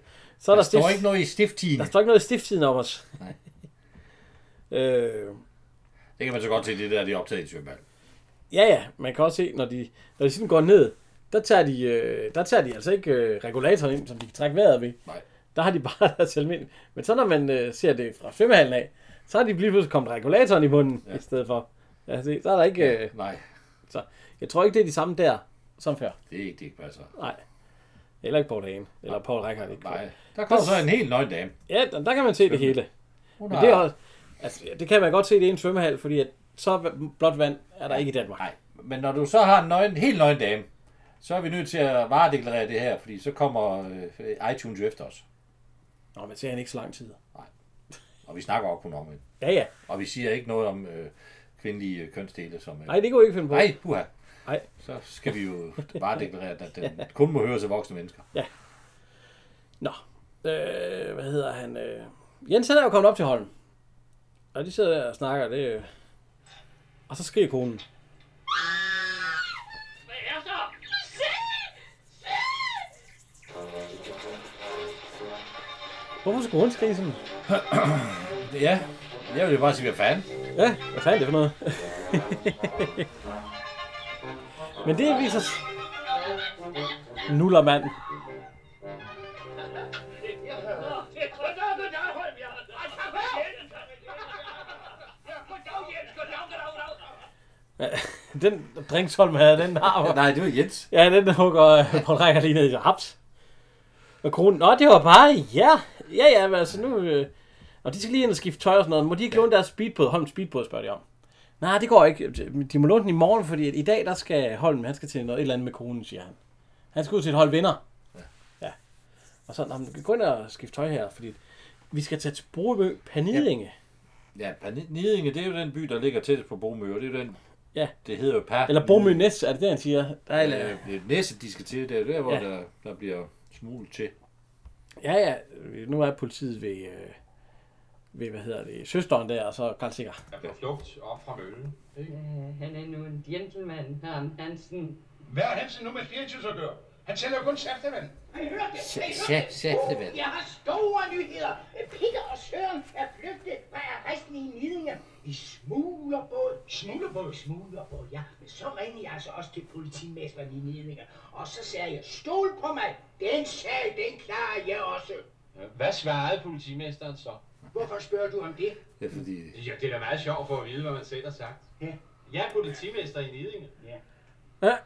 der, Der står stift- ikke noget i stifttiden. Der står ikke noget i stifttiden om os. Nej. øh, Det kan man så godt se, det der, de er optaget i svømmehal. ja, ja, man kan også se, når de, når de sådan går ned, der tager de, øh, der tager de altså ikke øh, regulatoren ind, som de kan trække vejret ved. Nej. Der har de bare [LAUGHS] deres almindelige. Men så når man øh, ser det fra svømmehallen af, så har de lige pludselig kommet regulatoren i munden ja. i stedet for. Ja, se, så er der ikke... Øh, ja, nej. Så jeg tror ikke, det er de samme der som før. Det er ikke det, altså. ikke passer. Nej. Heller ikke Paul Hagen. Eller Paul Reichhardt. Ikke. Nej. Der kommer så en helt nøgen dame. Ja, der, der kan man se det hele. Hun Men har- det, er også, altså, ja, det kan man godt se, det er en svømmehal, fordi at så va- blåt vand er der ikke i Danmark. Nej. Men når du så har en nøgen, helt nøgen dame, så er vi nødt til at varedeklarere det her, fordi så kommer øh, iTunes jo efter os. Nå, men ser han ikke så lang tid. Nej. Og vi snakker også kun om det. Ja, ja. Og vi siger ikke noget om øh, kvindelige øh, kønsdele. Som, øh, Nej, det kan vi ikke finde på. Nej, puha. Nej. Så skal vi [LAUGHS] jo bare deklarere, at den kun må høres af voksne mennesker. Ja. Nå, øh, hvad hedder han? Øh, Jens han er jo kommet op til Holm. Og de sidder der og snakker, det øh. Og så skriger konen. Hvad er der? Hvorfor skulle hun skrige sådan? ja, jeg vil jo bare sige, hvad fanden. Ja, hvad fanden er det for noget? [LAUGHS] Men det viser s- nullermanden. Ja, den Drinksholm havde, den har... Nej, det var Jens. Ja, den hugger [LAUGHS] øh, Paul Rækker lige ned i sig. Haps. Og kronen, nå, det var bare, ja. Ja, ja, men altså nu... Øh, og de skal lige ind og skifte tøj og sådan noget. Må de ikke låne deres speedbåd? Holm speedbåd, spørger de om. Nej, det går ikke. De må låne den i morgen, fordi at i dag, der skal Holm, han skal til noget et eller andet med konen, siger han. Han skal ud til et hold vinder. Ja. Og så, nå, men gå ind og skifte tøj her, fordi vi skal tage til Broø Panidinge. Ja, Pan- Nidinge, det er jo den by, der ligger tæt på Bomø, og det er jo den, Ja. det hedder jo Per. Eller Bromø Næs, er det det, han siger? Der er, en, øh, Øh, det næste, de skal til, det er der, hvor Ja. ja. der, der bliver smuglet til. Ja, ja. Nu er politiet ved, øh, ved hvad hedder det, søsteren der, og så Karl Sikker. Er på flugt op fra møllen. Øh, han er nu en gentleman, ham Hansen. Hvad har Hansen nu med spiritus at gøre? Han sælger jo kun saftevand. Har I hørt det? Sa- Har I hørt sa- det? saftevand. Uh, Jeg har store nyheder. Peter og Søren er flygtet fra arresten i Nidinge. I smuglerbåd. Smuglerbåd? Smuglerbåd, ja. Men så ringede jeg altså også til politimesteren i Nidinge. Og så sagde jeg, stol på mig. Den sag, den klarer jeg også. Hvad svarede politimesteren så? Hvorfor spørger du om det? Ja, fordi... Ja, det er da meget sjovt for at vide, hvad man selv har sagt. Ja. Jeg er politimester i Nidinge. Ja. Ja.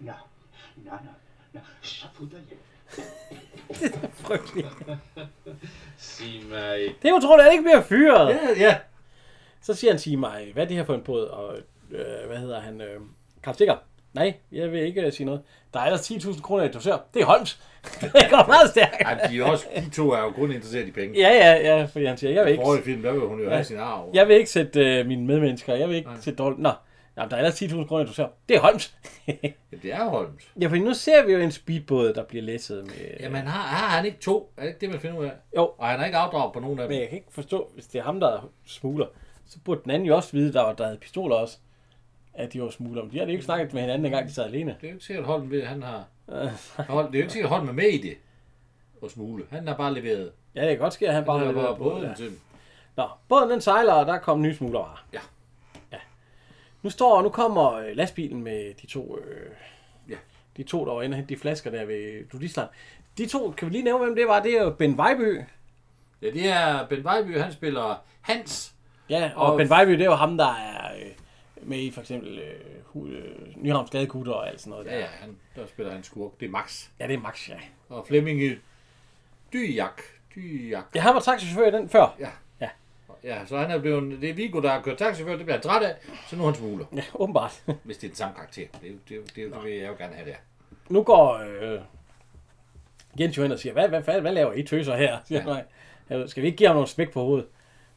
Nå, nå, nå, nå. Så putter jeg. det er frygteligt. Sig mig. Det er utroligt, at han ikke bliver fyret. Ja, ja. Så siger han, sig mig, hvad er det her for en båd? Og øh, hvad hedder han? Øh, Karl Stikker. Nej, jeg vil ikke øh, sige noget. Der er ellers 10.000 kroner i dosør. Det er Holms. [LAUGHS] det går meget stærkt. Ej, de, er også, de to er jo kun interesseret i penge. Ja, ja, ja, fordi han siger, jeg vil I ikke... forrige film, der vil hun jo have sin arv. Jeg vil ikke sætte øh, mine medmennesker, jeg vil ikke Nej. sætte dårligt... Nå, Nå der er ellers 10.000 kroner, du ser. Det er Holms. [LAUGHS] ja, det er Holms. Ja, for nu ser vi jo en speedbåd, der bliver læsset med... Jamen, har, har han ikke to? Er det ikke det, man finder ud af? Jo. Og han har ikke afdraget på nogen af dem. Men jeg kan ikke forstå, hvis det er ham, der smugler, så burde den anden jo også vide, der, var, der havde pistoler også, at de var smugler. Men de havde jo ikke snakket med hinanden, dengang de sad alene. Det er jo ikke sikkert, Holm ved, han har... Hold, det er jo ikke sikkert, Holm er med i det. Og smule. Han har bare leveret. Ja, det kan godt ske, at han bare har har leveret bare båden, båden ja. til dem. Nå, båden den sejler, og der kommer nye smuglervarer. Ja. ja. Nu står, nu kommer øh, lastbilen med de to, øh, ja. de to, der var inde og hente de flasker der ved Nudisland. De to, kan vi lige nævne, hvem det var? Det er jo Ben Vejby. Ja, det er Ben Vejby, han spiller Hans. Ja, og, Og- og Ben Vejby, det er jo ham, der er øh, med i for eksempel øh, hu- øh, Nyhavns Gadekutter og alt sådan noget. Ja, ja, han, der spiller han skurk. Det er Max. Ja, det er Max, ja. Og Flemming øh, Dyjak. Dyjak. Ja, han var taxichauffør i den før. Ja. Ja. Ja, så han er blevet... Det er Vigo, der har kørt taxifør, det bliver han træt af, så nu er han smugler. Ja, åbenbart. [LAUGHS] Hvis det er den samme karakter. Det, er jo- det, er jo- det, er jo- det vil jeg jo gerne have der. Nu går øh, Jens jo hen og siger, hvad, hvad, hvad, hvad laver I tøser her? Siger, Ja. ja. nej. Han, Skal vi ikke give ham nogle smæk på hovedet?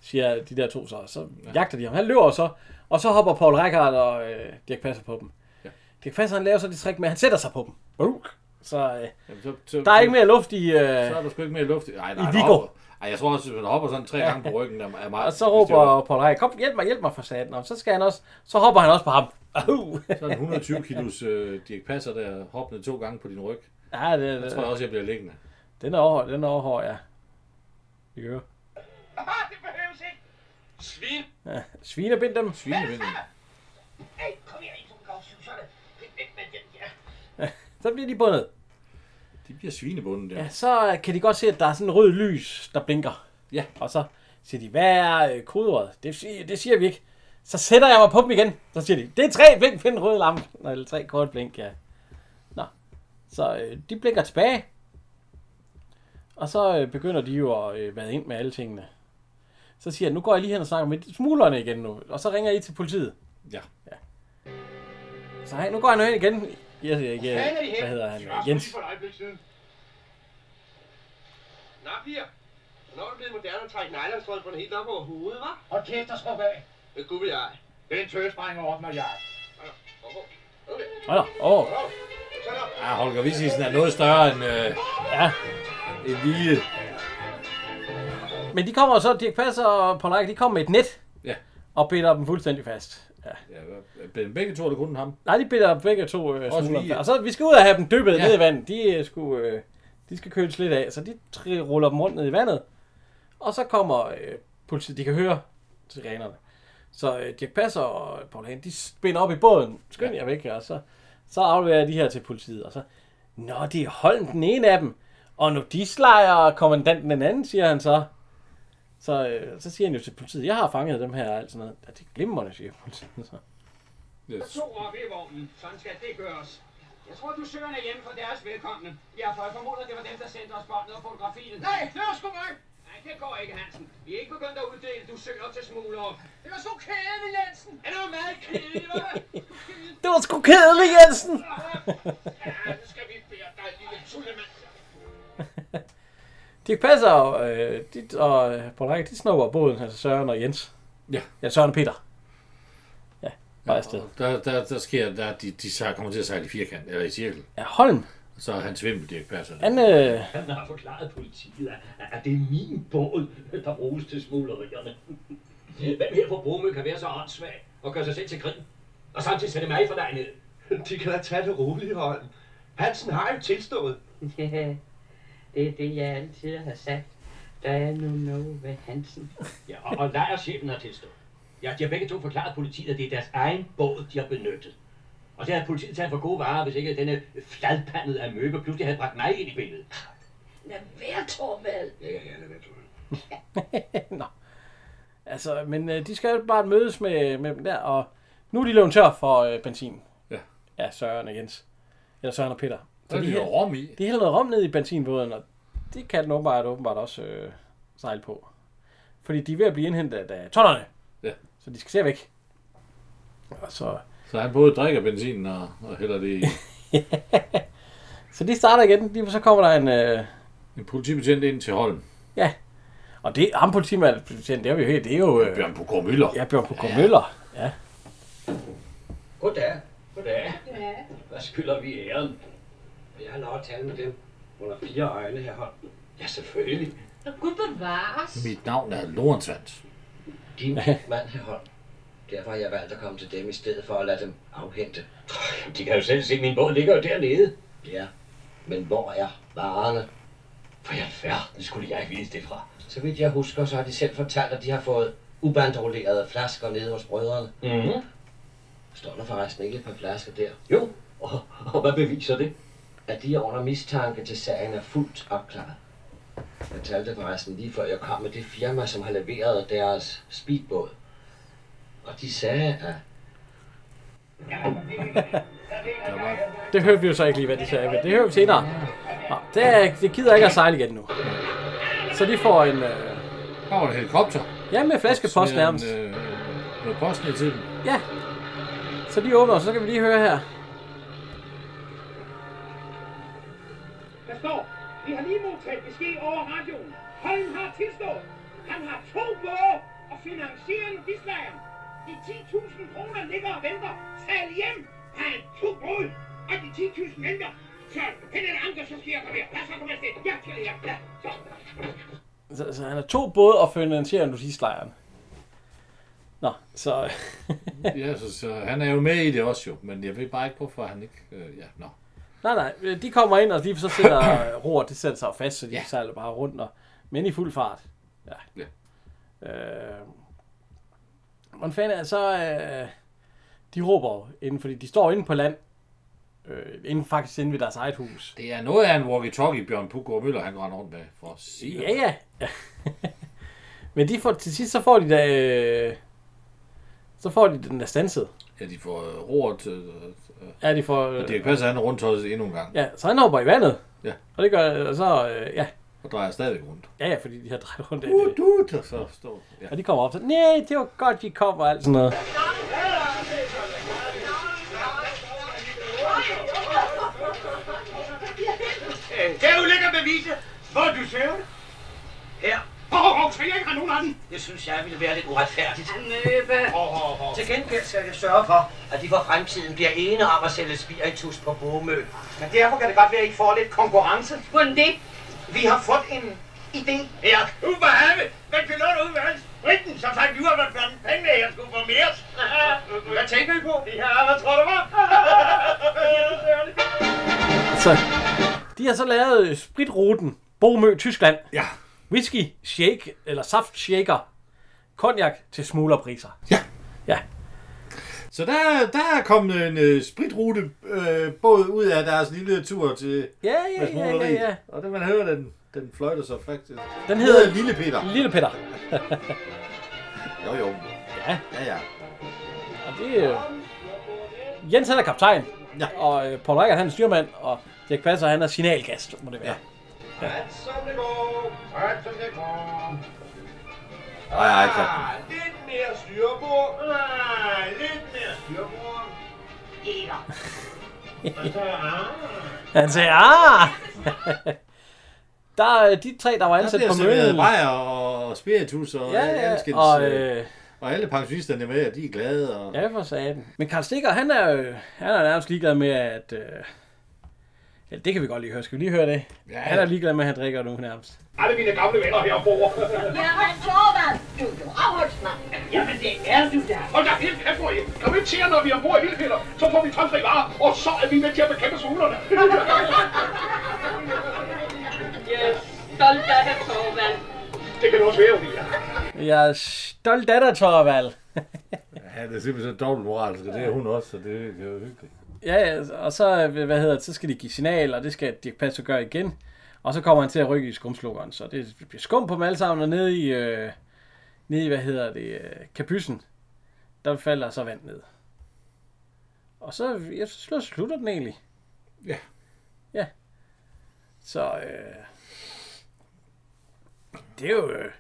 Siger de der to så. Så Ja. ja. jagter de ham. Han løber så, og så hopper Paul Rekard og øh, Dirk Passer på dem. Ja. Dirk Passer han laver så det trick med, at han sætter sig på dem. Bruk. Så, øh, Jamen, så, så, der er ikke mere luft i... Øh, Så er der sgu ikke mere luft. i- Ej, nej, i han Viggo. hopper. Ej, jeg tror også, hvis han hopper sådan tre gange på ryggen, der er meget... og så råber Paul Rekard, kom hjælp mig, hjælp mig for satan. Og så, skal han også, så hopper han også på ham. Au. Så er en 120 kilos øh, Dirk Passer, der hoppende to gange på din ryg. [LAUGHS] Ja, det, Jeg det, tror jeg også, jeg bliver liggende. den er overhøj, den er overhøj, ja. Vi gør. Ah, det behøves ikke. Svin. Ja. Svinebind dem. Svinebind dem. Hey, kom her, I to gavsjuserne. Pind væk med den der. så bliver de bundet. De bliver svinebundet, ja. Ja, så øh, kan de godt se, at der er sådan en rød lys, der blinker. Ja. Og så siger de, hvad er øh, kodeordet? Det, siger- det siger vi ikke. Så sætter jeg mig på dem igen. Så siger de, det er tre blink, find en rød lampe. Nå, Eller tre kort blink, ja. Nå. Så øh, de blinker tilbage. Og så øh, begynder de jo at øh, vade ind med alle tingene. Så siger jeg, nu går jeg lige hen og snakker med smuglerne igen nu. Og så ringer I til politiet. Ja. ja. Så hey, nu går jeg nu hen igen. Jeg, jeg, Hvor fanden er de jeg, henne? hvad hedder han? Jeg var sgu lige Jens. for et øjeblik siden. Nå, piger. Hvornår er det blevet moderne at trække nylonstrømpen helt op over hovedet, hva'? Hold kæft og sluk af. Det kunne vi ej. Det er en tøsdreng over mig, jeg. Hold da, åh. Ja, Ah, Holger Vissisen er noget større end... Øh, ja. En vilje. Men de kommer så, Dirk Passer og Paul Række, de kommer med et net. Ja. Og binder dem fuldstændig fast. Ja. ja begge to er det kun ham. Nej, de binder begge to øh, Også smuglerne lige- fast. Og så vi skal ud og have dem dyppet Ja. ja. ned i vandet. De, øh, skulle, øh, de skal køles lidt af, så de tri- ruller dem rundt ned i vandet. Og så kommer øh, politiet, de kan høre sirenerne. Så øh, Dirk Passer og Paul Hagen, de spinder op i båden. Skynd jer væk, og så, så afleverer jeg de her til politiet. Og så, nå, det er Holm den ene af dem. Og nu de slejer kommandanten den anden, siger han så. Så, øh, så siger han jo til politiet, jeg har fanget dem her og alt sådan noget. Ja, det er glimrende, siger politiet så. Yes. To op i vognen. Sådan skal det gøres. Jeg tror, du søger er hjemme for deres velkomne. Ja, for jeg formoder, det var dem, der sendte os båndet og fotografiet. Nej, det var sgu mig. Nej, det går ikke, Hansen. Vi er ikke begyndt at uddele, du søger til smuglere. Det var sgu kedeligt, Jensen. Er det jo meget kedeligt, hva'? Det var sgu kedeligt, Jensen! Ja, nu skal vi bære dig, lille tullemand. Dirk Passer og, øh, de, og øh, Paul Række, de snupper båden, altså Søren og Jens. Ja. Ja, Søren og Peter. Ja, bare ja, afsted. Der, der, der sker, der, de, de sej- kommer til at sejle i firkant, eller i cirkel. Ja, Holm. Så er han svimmel, Dirk Passer. Han, øh, [LAUGHS] Han har forklaret politiet, at, at det er min båd, der bruges til smuglerierne. Hvem her på Bromø kan være så åndssvag og gøre sig selv til grin? Og samtidig sætte mig for dig ned. De kan da tage det roligt, Holm. Hansen har jo tilstået. Ja, det er det, jeg altid har sagt. Der er nu noget ved Hansen. Ja, og, og lejerchefen har tilstået. Ja, de har begge to forklaret politiet, at det er deres egen båd, de har benyttet. Og det havde politiet taget for gode varer, hvis ikke denne fladpandede amøbe pludselig havde bragt mig ind i billedet. Lad være, Torvald. Ja, ja, ja, lad være, Torvald. Nå. Altså, men øh, de skal jo bare mødes med, med dem der, og nu er de løbet tør for øh, benzin. Ja. Ja, Søren og Jens. Eller Søren og Peter. Der er de jo hæl- rom i. De hælder noget rom ned i benzinbåden, og det kan den åbenbart, åbenbart også øh, sejle på. Fordi de er ved at blive indhentet af tonnerne. Ja. Så de skal se væk. Og så... Så han både drikker benzin og, og hælder [LAUGHS] det i. Så de starter igen, lige så kommer der en... Øh... En politibetjent ind til Holm. Ja. Og det, ham politimanden, det er vi jo helt, det er jo... Øh... Bjørn Pugård Møller. Ja, Bjørn Pugård Møller. Ja. Goddag. Goddag. Ja. Hvad skylder vi æren? Jeg har lov at tale med dem under fire øjne her hånd. Ja, selvfølgelig. Gud bevares. Mit navn er Lorentz. Din mand her hånd. Derfor har jeg valgt at komme til dem i stedet for at lade dem afhente. De kan jo selv se, at min båd ligger jo dernede. Ja, men hvor er varerne? For jeg færden skulle jeg vise det fra. Så vidt jeg husker, så har de selv fortalt, at de har fået ubandolerede flasker nede hos brødrene. Mhm. Står der forresten ikke et par flasker der? Jo, og, og hvad beviser det? At de er under mistanke til sagen er fuldt opklaret. Jeg talte forresten lige før jeg kom med det firma, som har leveret deres speedbåd. Og de sagde, at... Det hørte vi jo så ikke lige, hvad de sagde, men det hører vi senere. Nå, det, er, det gider ikke at sejle igen nu. Så de får en... Øh... Der var en helikopter. Ja, med flaskepost Smider en, nærmest. Øh, noget post ned til dem. Ja. Så de åbner, og så kan vi lige høre her. Der står, vi har lige modtaget besked over radioen. Holm har tilstået. Han har to både og finansierer nu gislejren. De 10.000 kroner ligger og venter. Tal hjem. Han er to brud, og de 10.000 venter. Så, hen en anker, så skal jeg komme her. Lad os så komme afsted. Jeg skal her. Lad, så. Så, så han har to både og finansierer nu tidslejren. Nå, så... ja, så, så, han er jo med i det også jo, men jeg ved bare ikke, hvorfor han ikke... Øh, ja, nå. Nej, nej. øh, De kommer ind, og de så sætter ror, det sætter sig jo fast, så de ja. sejler bare rundt, og, men i fuld fart. Ja. ja. Øh, men fanden er så... Øh, de råber jo inden, fordi de står inde på land. Øh, inden, faktisk inde ved deres eget hus. Det er noget af en walkie-talkie, Bjørn Pugård Møller, han render rundt med. For at sige. Ja, ja. [LAUGHS] Men de får, til sidst så får de da... Øh, så får de den der stanset. Ja, de får øh, roret... Øh, øh, Ja, de får... øh, og det passer han er rundt tosset endnu en gang. Ja, så han hopper i vandet. Ja. Og det gør... Og så... Øh, ja. Og drejer stadigvæk rundt. Ja, ja, fordi de har drejet rundt af Uh, det. du, der så står. Ja. Og de kommer op så... Nej, det var godt, de kom og alt sådan noget. Øh, Der er jo lækker bevise. Hvor er du ser Her. Åh, oh, så jeg ikke har nogen af den. Det synes jeg ville være lidt uretfærdigt. Amøbe! Til gengæld skal jeg sørge for, at de for fremtiden bliver ene om at sælge spiritus på Bomø. Men derfor kan det godt være, at I får lidt konkurrence. Hvordan det? Vi har fået en idé. Ja, du var have. Men piloten ud med hans Britten, så tager vi ud af blandt pengene, jeg skulle få mere. Hvad tænker I på? Ja, hvad tror du var? Så de har så lavet øh, spritruten. Bomø, Tyskland. Ja. Whisky, shake eller saft shaker. Cognac til smuglerpriser. Ja. Ja. Så der, der er kommet en øh, spritrute øh, både ud af deres lille tur til Ja, ja, med ja, smugleriet. ja, ja. Og det man hører, den, den fløjter så faktisk. Den hedder Lille Peter. Lille Peter. Jo, jo. Ja. Ja, ja. Og det er... Øh, Jens han er kaptajn. Ja. Og øh, Paul Reichert han er styrmand. Og Dirk Passer han er signalgast, må det være. Ja. Ret som det går, ret som det går. Ej, ej, Ah, lidt mere styrbord. Ah, lidt mere styrbord. Eger. Og så, ah, Han sagde, ah! [LAUGHS] der, øh, de tre, der var ansat Der på bliver serveret møllen. bajer og og spiritus og Ja, ja, ja, ja. alskens. og, Og, øh, og alle pensionisterne er med, og de er glade. Og, øh, Ja, for satan. Men Karl Stikker, han er jo han er nærmest ligeglad med, at, øh, Ja, det kan vi godt lige høre. Skal vi lige høre det? Ja. Han er ligeglad med, at han drikker nu nærmest. Alle mine gamle venner her bor. Jamen, Torvald, du er jo afholdsmand. Jamen, det er du da. Hold da helt kæft for hende. Kom ind til jer, når vi er ombord i Vildpiller. Så får vi fremfri varer, og så er vi med til at bekæmpe [LAUGHS] smuglerne. Jeg er stolt af dig, Torvald. det kan du også være, Olivia. Jeg er stolt af dig, Torvald. [LAUGHS] Ja, det er simpelthen så dobbelt moralsk, og det er hun også, så det det er jo hyggeligt. Ja, ja, og så, øh, hvad hedder det, så skal de give signal, og det skal Dirk Passer gøre igen. Og så kommer han til at rykke i skumslukkeren, så det bliver skum på dem alle sammen, og nede i, øh, nede i hvad hedder det, øh, kapyssen, der falder så vand ned. Og så, jeg så slutter den egentlig. Ja. Ja. Så, øh, det er jo... Øh,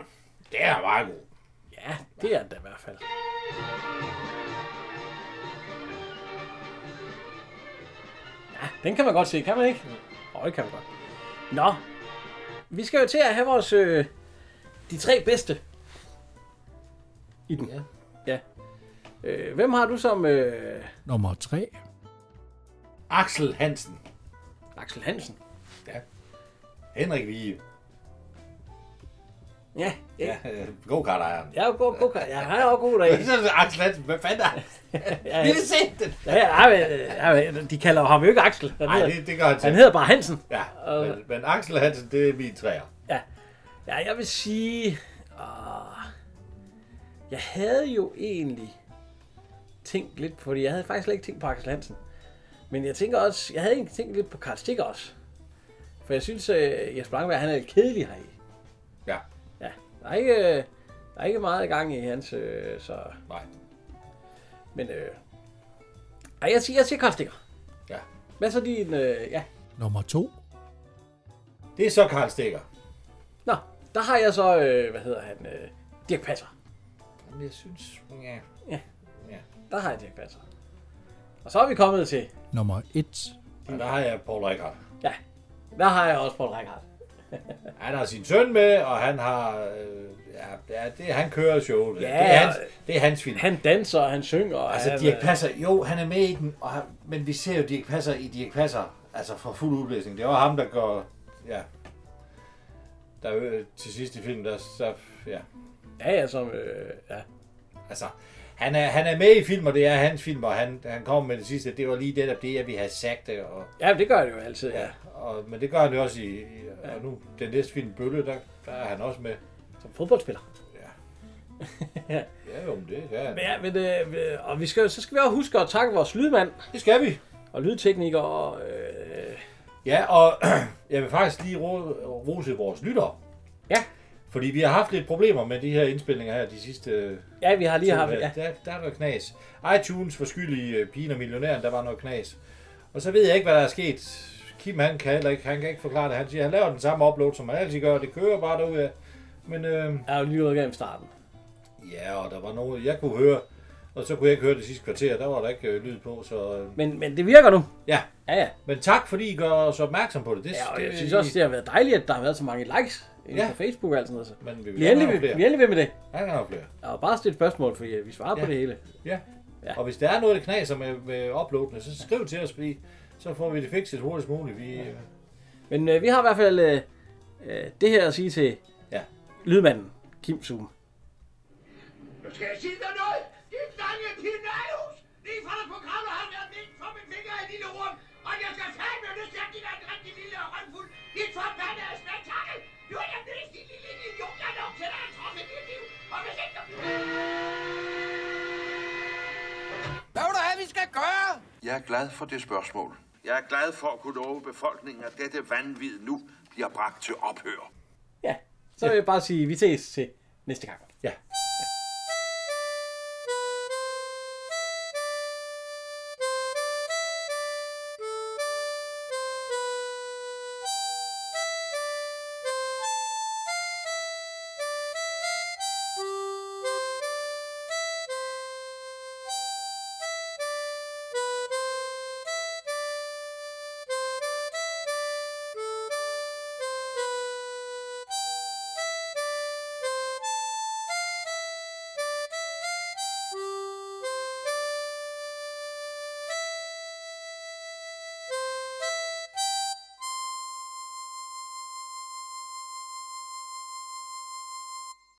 det er meget god. Ja, det er det i hvert fald. Ja, den kan man godt se, kan man ikke? Åh, det kan man godt. Nå, vi skal jo til at have vores... Øh, de tre bedste. I den. Ja. ja. Øh, hvem har du som... Øh, Nummer 3. Axel Hansen. Axel Hansen? Ja. Henrik Vige. Ja, ja. øh, God kart ejeren. Jeg er jo god, god, jeg har jo også god [LAUGHS] dag. Axel Hansen, hvad fanden er Ja, Vi vil se den. Ja, ja, men, øh, ja, men, de kalder ham jo ikke Axel. Han Nej, hedder- det, det gør han til. Han hedder bare Hansen. Ja, Og- men, men Axel Hansen, det er min træer. Ja. ja, jeg vil sige... Åh, jeg havde jo egentlig tænkt lidt på det. Jeg havde faktisk slet ikke tænkt på Axel Hansen. Men jeg tænker også... Jeg havde egentlig tænkt lidt på Karl Stikker også. For jeg synes, øh, Jesper Langberg, han er lidt kedelig heri. Ja. Ja. Der er ikke, øh, der er ikke meget gang i hans, øh, så... Nej. Men øh... Ej, jeg siger, jeg siger Karl Stikker. Ja. Hvad så din... Øh, ja, Nummer 2. Det er så Karl Stikker. Nå, der har jeg så, øh, hvad hedder han, øh, Dirk Passer. Jamen, jeg synes, ja. Ja. ja. Der har jeg Dirk Passer. Og så er vi kommet til, Nummer 1. Og der har jeg Paul Rikard. ja, der har jeg også Paul Rikard. Han har sin søn med, og han har... Øh, ja, ja, det, han kører showet. Ja, det, er hans, det er hans film. Han danser, og han synger. og Altså, han, Dirk øh, Passer, jo, han er med i den, og han, men vi ser jo Dirk Passer i Dirk Passer, altså for fuld udblæsning. Det var ham, der går, ja, der øh, til sidst i filmen, der, så, ja. Ja, ja, som, øh, ja. Altså, han er, han er med i film, og det er hans film, og han, han kommer med det sidste, det var lige det, der det, jeg ville have sagt det, og, Ja, det gør det jo altid, ja. og, men det gør han jo også i, i og nu, den næste film, Bølle, der, der er han også med. Som fodboldspiller. Ja. ja, jo, men det er han. Men, ja, men, øh, øh, og vi skal, så skal vi også huske at takke vores lydmand. Det skal vi. Og lydtekniker og... Øh, Ja, og [CLEARS THROAT] jeg vil faktisk lige ro- rose vores lyttere. Ja. Fordi vi har haft lidt problemer med de her indspilninger her de sidste... øh, ja, vi har lige tid haft... her. Ja. Der, der er noget knas. iTunes for skyld i øh, Pigen og Millionæren, der var noget knas. Og så ved jeg ikke, hvad der er sket. Kim, han kan heller ikke, han kan ikke forklare det. Han siger, han laver den samme upload, som han altid gør, og det kører bare derudad. Men øh, Jeg har jo lige udgang i starten. ja, og der var noget, jeg kunne høre, og så kunne jeg ikke høre det sidste kvarter, der var der ikke øh, lyd på, så... Øh, Men, men det virker nu. ja. Ja, ja. Men tak, fordi I gør os opmærksom på det. det Ja, og jeg det- synes også, det har været dejligt, at der har været så mange likes ja. Ja. på Facebook og alt sådan noget. Så. Men vi vil Vi er gerne endelig, have ved- flere. vi er endelig ved med det. Ja, der er flere. Og bare stille spørgsmål, fordi øh, vi svarer ja. Ja. på det hele. Ja. Ja. ja. Og hvis der er noget, der knaser med, med uploadene, så skriv til os, fordi så får vi det fikset hurtigst muligt. Vi, øh, ja. Men øh, vi har i hvert fald øh, øh, det her at sige til Ja. lydmanden Kim Zoom. Nu skal jeg sige dig noget! Dit lange pinajus! Lige fra det program har været vildt for min finger i lille rum, og jeg skal tage med lyst til at give dig en rigtig lille håndfuld. Dit forbandede spektakel! Du er den mest lille idiot, jeg nogensinde har truffet i dit liv! Og hvis ikke Hvad vil du have, vi skal gøre? Jeg er glad for det spørgsmål. Jeg er glad for at kunne love befolkningen, at dette vanvid nu bliver bragt til ophør. Så vil jeg bare sige, vi ses til næste gang.